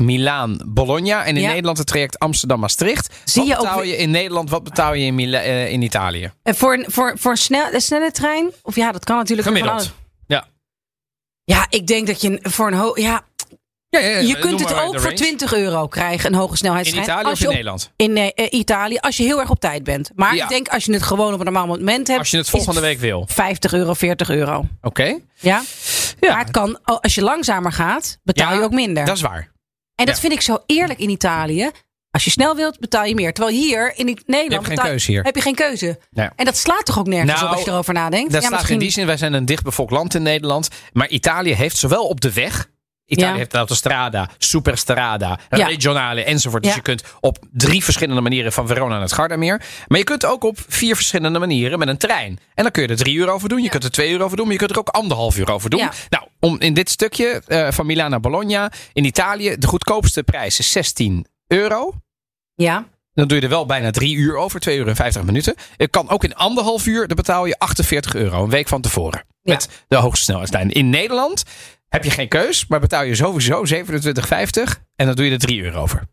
S2: Milaan-Bologna. En in
S1: Ja.
S2: Nederland het traject Amsterdam-Maastricht.
S1: Zie
S2: Wat
S1: je ook
S2: betaal
S1: weer-
S2: je in Nederland? Wat betaal je in, Mila- eh, in Italië?
S1: En voor, een- voor, voor een, snel, een snelle trein, of ja, dat kan natuurlijk. ook van
S2: Gemiddeld. Ja.
S1: Ja, ik denk dat je voor een hoog. Ja,
S2: Eh,
S1: je kunt het ook voor 20 euro krijgen, een hoge
S2: In
S1: snelheidstrein.
S2: Italië
S1: als
S2: of
S1: je
S2: in
S1: op-
S2: Nederland?
S1: in eh, Italië, als je heel erg op tijd bent. Maar
S2: Ja.
S1: ik denk als je het gewoon op een normaal moment hebt.
S2: Als je het
S1: is
S2: volgende week wil. Oké.
S1: 50 euro, 40 euro. Ja?
S2: Ja.
S1: Maar het kan, al- als je langzamer gaat, betaal
S2: Ja,
S1: je ook minder.
S2: Dat is waar.
S1: en dat
S2: ja.
S1: vind ik zo eerlijk in Italië. Als je snel wilt, betaal je meer. Terwijl hier in I- Nederland
S2: Je hebt geen
S1: betaal-
S2: keuze hier.
S1: heb je geen keuze.
S2: Nee.
S1: En dat slaat toch ook nergens
S2: Nou,
S1: op als je erover nadenkt?
S2: Dat
S1: Ja,
S2: staat in die zin, wij zijn een dichtbevolkt land in Nederland. Maar Italië heeft zowel op de weg. Italië
S1: Ja.
S2: heeft de autostrada, superstrada,
S1: Ja.
S2: regionale enzovoort. Dus
S1: Ja.
S2: je kunt op drie verschillende manieren van Verona naar het Gardameer. Maar je kunt ook op vier verschillende manieren met een trein. En dan kun je er drie uur over doen, je kunt er twee uur over doen, maar je kunt er ook anderhalf uur over doen.
S1: Ja.
S2: Nou, om in dit stukje eh, van Milaan naar Bologna. In Italië, de goedkoopste prijs is 16 euro.
S1: ja.
S2: Dan doe je er wel bijna drie uur over, twee uur en vijftig minuten. Het kan ook in anderhalf uur, dan betaal je 48 euro een week van tevoren.
S1: Ja.
S2: Met de hoogste snelheidslijn. In Nederland heb je geen keus, maar betaal je sowieso 27,50 en dan doe je er drie uur over.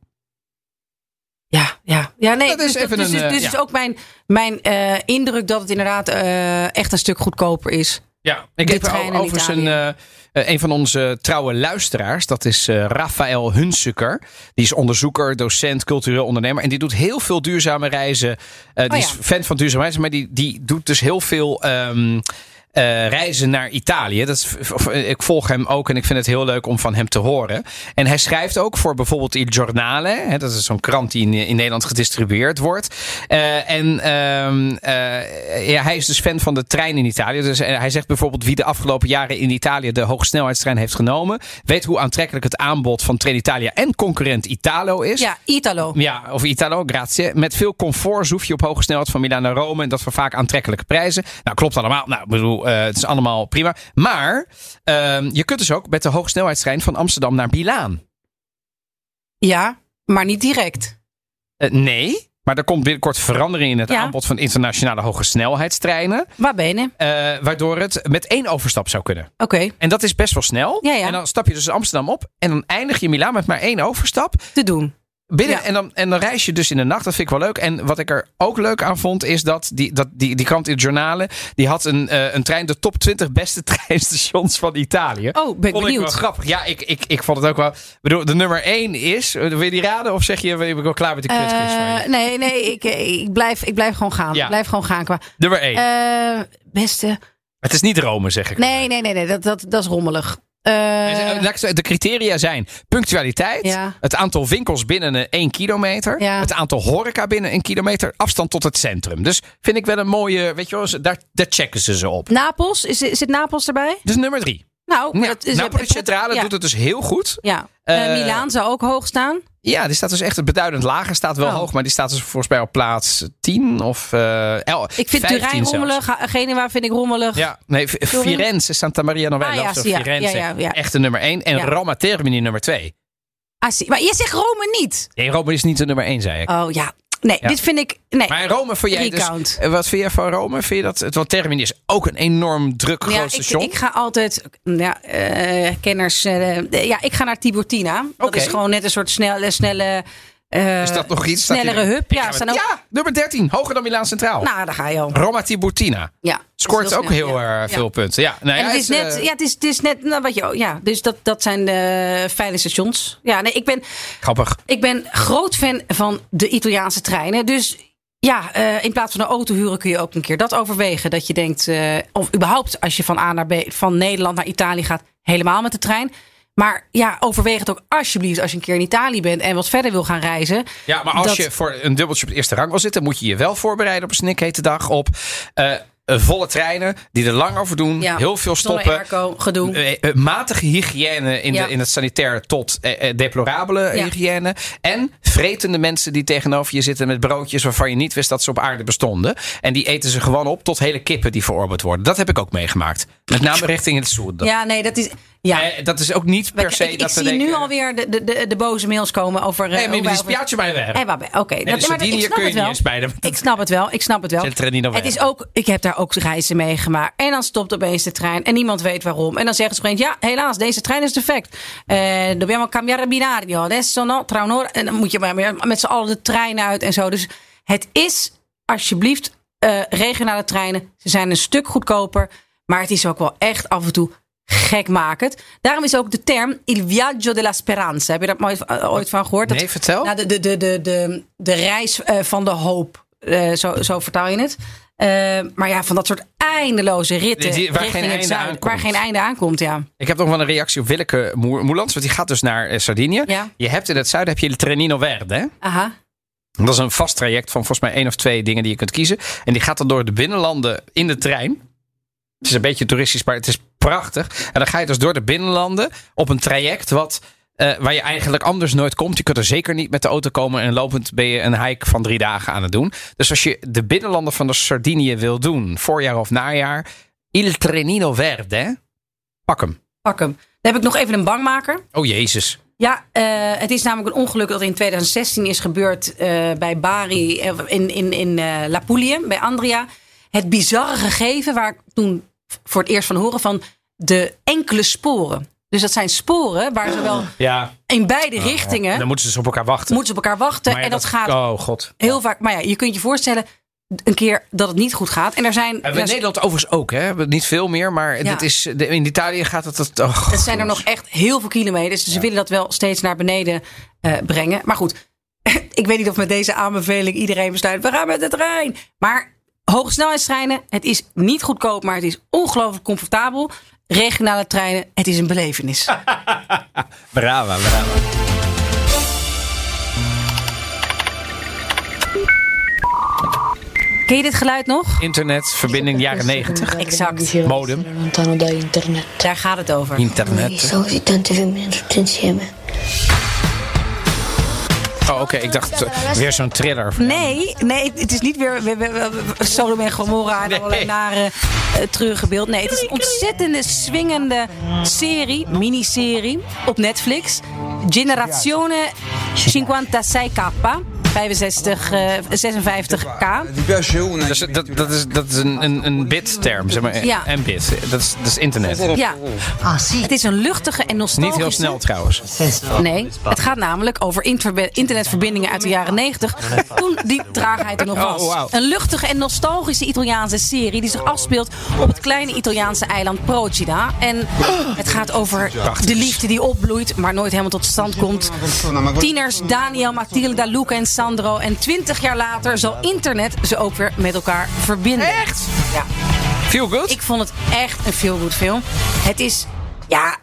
S1: Ja, ja. ja nee,
S2: Dat is
S1: dus,
S2: even
S1: dus,
S2: een,
S1: dus,
S2: eh,
S1: dus
S2: ja.
S1: is ook mijn, mijn eh, indruk dat het inderdaad eh, echt een stuk goedkoper is.
S2: Ja, ik
S1: De
S2: heb
S1: trein
S2: al-
S1: in
S2: overigens een, eh, eh, een van onze trouwe luisteraars. Dat is eh Rafael Hunsucker. Die is onderzoeker, docent, cultureel ondernemer. En die doet heel veel duurzame reizen. Eh, die
S1: Oh ja.
S2: is fan van duurzame reizen, maar die, die doet dus heel veel. ehm, eh, reizen naar Italië. Dat is, of, eh, ik volg hem ook en ik vind het heel leuk om van hem te horen. En hij schrijft ook voor bijvoorbeeld Il Giornale. Hè, dat is zo'n krant die in, in Nederland gedistribueerd wordt. Eh, en ehm, eh, ja, hij is dus fan van de trein in Italië. Dus eh, hij zegt bijvoorbeeld wie de afgelopen jaren in Italië de hogesnelheidstrein heeft genomen. Weet hoe aantrekkelijk het aanbod van Trenitalia en concurrent Italo is.
S1: Ja, Italo.
S2: Ja, of Italo, grazie. Met veel comfort zoef je op hoge snelheid van Milaan naar Rome. En dat voor vaak aantrekkelijke prijzen. Nou, klopt allemaal. Nou, ik bedoel, eh, het is allemaal prima. Maar ehm, je kunt dus ook met de hoogsnelheidstrein van Amsterdam naar Milaan.
S1: Ja, maar niet direct.
S2: Eh, nee, maar er komt binnenkort verandering in het
S1: Ja.
S2: aanbod van internationale hogesnelheidstreinen.
S1: Waar ben je?
S2: eh, waardoor het met één overstap zou kunnen.
S1: Oké.
S2: En dat is best wel snel.
S1: Ja, ja.
S2: En dan stap je dus Amsterdam op. En dan eindig je in Milaan met maar één overstap.
S1: te doen.
S2: Binnen,
S1: Ja.
S2: en, dan, en dan reis je dus in de nacht. Dat vind ik wel leuk. En wat ik er ook leuk aan vond, is dat die, dat die, die krant in het journalen... die had een, eh, een trein, de top 20 beste *laughs* treinstations van Italië.
S1: Oh, ben ik
S2: vond ik wel
S1: benieuwd.
S2: grappig. Ja, ik, ik, ik vond het ook wel... Ik bedoel, de nummer 1 is... eh, Wil je die raden? Of zeg je, ben ik wel klaar met de kutquiz van
S1: Eh,
S2: je?
S1: nee, nee, ik, eh, ik, blijf, ik blijf gewoon gaan.
S2: Ja.
S1: Ik blijf gewoon gaan. Qua,
S2: Nummer 1.
S1: Eh, beste.
S2: het is niet Rome, zeg ik.
S1: Nee, nee, nee, nee dat, dat, dat is rommelig. Eh,
S2: En ze- laat ik zo- De criteria zijn punctualiteit,
S1: Ja.
S2: het aantal winkels binnen een 1 kilometer,
S1: Ja.
S2: het aantal horeca binnen een kilometer, afstand tot het centrum. Dus vind ik wel een mooie, weet je wel, ze- daar, daar checken ze ze op.
S1: Napels, is, zit Napels erbij?
S2: Dus nummer drie.
S1: Nou,
S2: Ja,
S1: dat is
S2: Napoli Centrale
S1: ja,
S2: doet het dus heel goed.
S1: Ja. Eh,
S2: Eh,
S1: Milaan zou ook hoog staan.
S2: Ja, die staat dus echt beduidend lager. Staat wel
S1: Oh.
S2: hoog, maar die staat dus volgens mij op plaats 10 of eh el-
S1: Ik vind
S2: 15
S1: Turijn
S2: zelfs.
S1: rommelig. Ha- Genua vind ik rommelig.
S2: Ja, nee, F-
S1: Sorry?
S2: Firenze, Santa Maria
S1: Ah,
S2: Novella.
S1: ja,
S2: of zo,
S1: ja,
S2: Firenze,
S1: ja, ja, ja.
S2: echt de nummer 1. En
S1: Ja.
S2: Roma Termini nummer 2.
S1: Ah, zie- maar je zegt Rome niet.
S2: Nee, Roma is niet de nummer 1, zei ik.
S1: Oh ja. Nee,
S2: Ja.
S1: dit vind ik... Nee.
S2: Maar in Rome vond jij dus...
S1: Recount.
S2: eh, Wat vind jij van Rome? Vind je dat... het- Want Termini is ook een enorm druk groot
S1: Ja, ik,
S2: station.
S1: ik ga altijd, ja, eh, kenners, eh, eh, ja, ik ga naar Tiburtina. Dat
S2: Oké.
S1: is gewoon net een soort snelle, snelle, eh,
S2: is dat nog iets? Staat
S1: snellere
S2: hier-
S1: hub.
S2: Ik
S1: Ja,
S2: ga
S1: staan
S2: met-
S1: ook,
S2: ja, nummer 13. Hoger dan Milaan Centraal.
S1: nou, daar ga je al.
S2: Roma Tiburtina.
S1: Ja,
S2: Scoort
S1: dat is
S2: ook heel
S1: snel, ja.
S2: eh, veel punten. Ja, nou
S1: En
S2: ja,
S1: het is
S2: het,
S1: net,
S2: eh,
S1: ja, het is, het is net, nou, wat je, ook- ja, dus dat, dat zijn de fijne stations. Ja, nee, ik ben,
S2: Grappig.
S1: ik ben groot fan van de Italiaanse treinen. Dus ja, eh, in plaats van een auto huren kun je ook een keer dat overwegen. Dat je denkt, eh, of überhaupt als je van A naar B, van Nederland naar Italië gaat, helemaal met de trein. Maar ja, overweeg het ook alsjeblieft als je een keer in Italië bent en wat verder wil gaan reizen.
S2: Ja, maar als
S1: Dat-
S2: je voor een dubbeltje op de eerste rang wil zitten... moet je je wel voorbereiden op een snikhete dag. Op eh, eh, volle treinen die er lang over doen.
S1: Ja,
S2: heel veel
S1: zonder
S2: stoppen.
S1: airco, gedoe.
S2: Eh, eh, matige hygiëne in,
S1: Ja.
S2: de, in het sanitair tot eh, eh, deplorabele
S1: Ja.
S2: hygiëne. En vretende mensen die tegenover je zitten met broodjes waarvan je niet wist dat ze op aarde bestonden. En die eten ze gewoon op tot hele kippen die verorberd worden. Dat heb ik ook meegemaakt. Met name richting het zoet.
S1: ja, nee, dat is. Ja,
S2: dat is ook niet per se
S1: ik, ik
S2: dat ze
S1: zie
S2: denken,
S1: nu alweer de, de, de, de boze mails komen over. eh,
S2: Hé,
S1: hoe
S2: maar
S1: wij
S2: die
S1: over-
S2: spiaatje mij weg.
S1: Hey, waarbij- Oké, dat-
S2: de
S1: Eh, maar dat- ik
S2: Sardinië
S1: snap
S2: dus kun je
S1: het wel.
S2: niet eens bij de-
S1: Ik snap het wel, ik snap het wel.
S2: Zit er niet overheen.
S1: het is ook, ik heb daar ook reizen meegemaakt. En dan stopt opeens de trein en niemand weet waarom. En dan zeggen ze opeens, ja, helaas, deze trein is defect. Eh dobbiamo cambiare binario. Adesso no, tra un'ora. En dan moet je maar weer met z'n allen de trein uit en zo. Dus het is, alsjeblieft, eh, regionale treinen. Ze zijn een stuk goedkoper. Maar het is ook wel echt af en toe gekmakend. Daarom is ook de term Il Viaggio della Speranza. Heb je daar ooit- ooit van gehoord? Dat-
S2: Nee, vertel.
S1: nou, de, de, de, de, de, de reis eh, van de hoop. Eh, zo, zo vertaal je het. Eh, maar ja, van dat soort eindeloze ritten.
S2: Die- die- waar
S1: richting
S2: geen
S1: het
S2: einde
S1: zuiden,
S2: aankomt.
S1: Waar geen einde aankomt, ja.
S2: Ik heb nog wel een reactie op Willeke Moer- Moerlands, want die gaat dus naar eh, Sardinië.
S1: Ja.
S2: Je hebt in het zuiden heb je Trenino Verde. hè?
S1: Aha.
S2: Dat is een vast traject van volgens mij één of twee dingen die je kunt kiezen. En die gaat dan door de binnenlanden in de trein. Het is een beetje toeristisch, maar het is prachtig. En dan ga je dus door de binnenlanden op een traject wat, eh, waar je eigenlijk anders nooit komt. Je kunt er zeker niet met de auto komen en lopend ben je een hike van drie dagen aan het doen. Dus als je de binnenlanden van de Sardinië wil doen, voorjaar of najaar, Il Trenino Verde, hè? pak hem.
S1: Pak hem. Dan heb ik nog even een bangmaker.
S2: Oh jezus.
S1: Ja, eh, het is namelijk een ongeluk dat in 2016 is gebeurd eh, bij Bari eh, in, in, in eh, Lapulië, bij Andria. Het bizarre gegeven waar ik toen voor het eerst van horen van de enkele sporen. Dus dat zijn sporen waar zowel
S2: Ja.
S1: in beide richtingen
S2: Dan moeten ze dus op elkaar wachten.
S1: moeten ze op elkaar wachten.
S2: Maar ja,
S1: en dat, gaat
S2: Oh god.
S1: heel vaak. Maar ja, je kunt je voorstellen een keer dat het niet goed gaat. En er zijn,
S2: Hebben we in
S1: er
S2: Nederland overigens ook, hè? We- Niet veel meer, maar
S1: Ja.
S2: dat is, de- in Italië gaat het... het oh,
S1: het zijn er nog echt heel veel kilometers. Dus ze willen dat wel steeds naar beneden eh, brengen. Maar goed, *laughs* ik weet niet of met deze aanbeveling iedereen besluit. We gaan met de trein. Maar hogesnelheidstreinen, het is niet goedkoop, maar het is ongelooflijk comfortabel. Regionale treinen, het is een belevenis.
S2: Brava, brava.
S1: Ken je dit geluid nog?
S2: Internet, verbinding jaren negentig.
S1: Exact.
S2: Modem.
S3: Lontano da internet.
S1: Daar gaat het over.
S3: Ci
S2: Internet.
S3: sono così tante femmine tutte insieme.
S2: Oh, oké, ik dacht eh, weer zo'n thriller.
S1: Nee, nee, het is niet weer we- we- we- we- Sodom en Gomorra en
S2: Nee.
S1: allerlei nare eh, treurige beeld. Nee, het is een ontzettende swingende serie, miniserie op Netflix. Generazione 56K. 65, eh, 56K.
S4: Ti piace una?
S2: Dus dat, dat is, dat is een, een, een bit-term, zeg maar.
S1: Ja.
S2: En bit. Dat is, dat is internet.
S1: Ja, het is een luchtige en
S2: Niet
S1: nostalgische...
S2: heel snel trouwens.
S1: Nee, het gaat namelijk over interbe- internetverbindingen uit de jaren 90. Toen die traagheid er nog
S2: Oh,
S1: was.
S2: wauw.
S1: Een luchtige en nostalgische Italiaanse serie die zich afspeelt op het kleine Italiaanse eiland Procida. En het gaat over de liefde die opbloeit, maar nooit helemaal tot stand komt. Tieners Daniel, Matilda, Luca en Sandro. En twintig jaar later zal internet ze ook weer met elkaar verbinden.
S2: Echt?
S1: Ja.
S2: Feel good?
S1: Ik vond het echt een feel-good film. Het is, ja,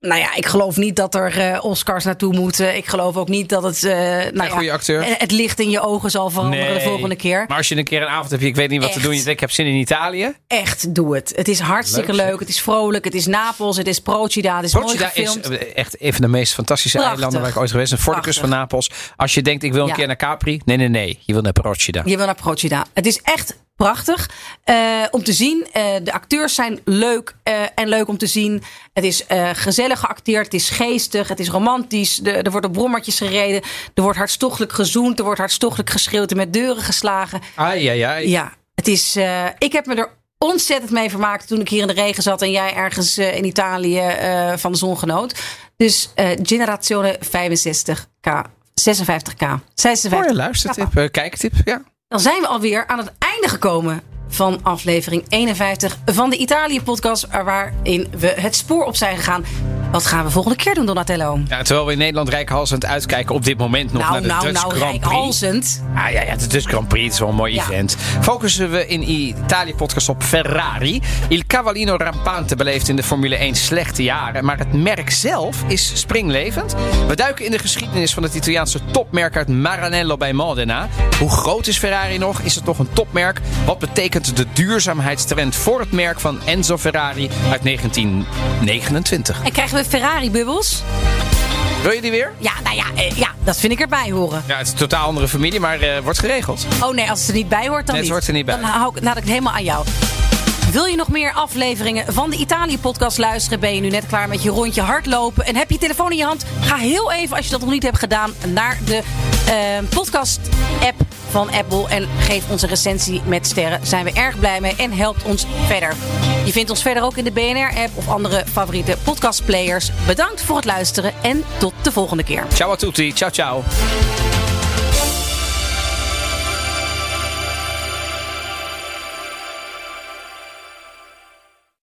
S1: nou ja, ik geloof niet dat er eh, Oscars naartoe moeten. Ik geloof ook niet dat het, eh nou ja,
S2: goede acteur.
S1: het licht in je ogen zal veranderen de volgende keer.
S2: Maar als je een keer een avond hebt, ik weet niet wat te
S1: Echt.
S2: doen. Je denkt, ik heb zin in Italië.
S1: Echt, doe het. Het is hartstikke
S2: Leuk,
S1: leuk.
S2: zeg.
S1: Het is vrolijk. Het is Napels. Het is Procida. Het is mooi
S2: Procida is
S1: gefilmd.
S2: eh, echt een van de meest fantastische
S1: Prachtig.
S2: eilanden waar ik ooit geweest ben. Voor de kust van Napels. Als je denkt, ik wil een
S1: Ja.
S2: keer naar Capri. Nee, nee, nee. Je wil naar Procida.
S1: Je wil naar Procida. Het is echt prachtig eh, om te zien. Eh, de acteurs zijn leuk eh, en leuk om te zien. Het is eh, gezellig geacteerd. Het is geestig. Het is romantisch. De, er wordt op brommertjes gereden. Er wordt hartstochtelijk gezoend. Er wordt hartstochtelijk geschreeuwd en met deuren geslagen.
S2: Ai, ai, ai.
S1: Ja, het is. eh, ik heb me er ontzettend mee vermaakt toen ik hier in de regen zat en jij ergens eh, in Italië eh, van de zon genoot. Dus eh Generazione 65K. 56K. 56K.
S2: Mooie luistertip, eh, kijktip. Ja.
S1: Dan zijn we alweer aan het einde gekomen van aflevering 51 van de Italië-podcast... waarin we het spoor op zijn gegaan. Wat gaan we volgende keer doen, Donatello?
S2: Ja, terwijl we in Nederland rijkhalsend uitkijken op dit moment nog
S1: nou,
S2: naar de
S1: nou,
S2: Dutch
S1: nou,
S2: Grand Prix.
S1: rijkhalsend.
S2: Ah, ja, ja, de Dutch Grand Prix het is wel een mooi
S1: Ja.
S2: event. Focussen we in Italië-podcast op Ferrari. Il Cavallino Rampante beleeft in de Formule 1 slechte jaren. Maar het merk zelf is springlevend. We duiken in de geschiedenis van het Italiaanse topmerk uit Maranello bij Modena. Hoe groot is Ferrari nog? Is het nog een topmerk? Wat betekent de duurzaamheidstrend voor het merk van Enzo Ferrari uit 1929?
S1: En krijgen we Ferrari-bubbels?
S2: Wil je die weer?
S1: Ja, nou ja, eh, ja, dat vind ik erbij horen.
S2: Ja, het is een totaal andere familie, maar eh, wordt geregeld.
S1: Oh nee, als het er niet bij hoort, dan
S2: Nee, het
S1: niet.
S2: hoort er niet bij.
S1: Dan hou ik, laat ik het helemaal aan jou. Wil je nog meer afleveringen van de Italië-podcast luisteren? Ben je nu net klaar met je rondje hardlopen? En heb je telefoon in je hand? Ga heel even, als je dat nog niet hebt gedaan, naar de eh, podcast-app van Apple. En geef ons een recensie met sterren. Zijn we erg blij mee en helpt ons verder. Je vindt ons verder ook in de BNR-app of andere favoriete podcastplayers. Bedankt voor het luisteren en tot de volgende keer.
S2: Ciao a tutti, ciao ciao.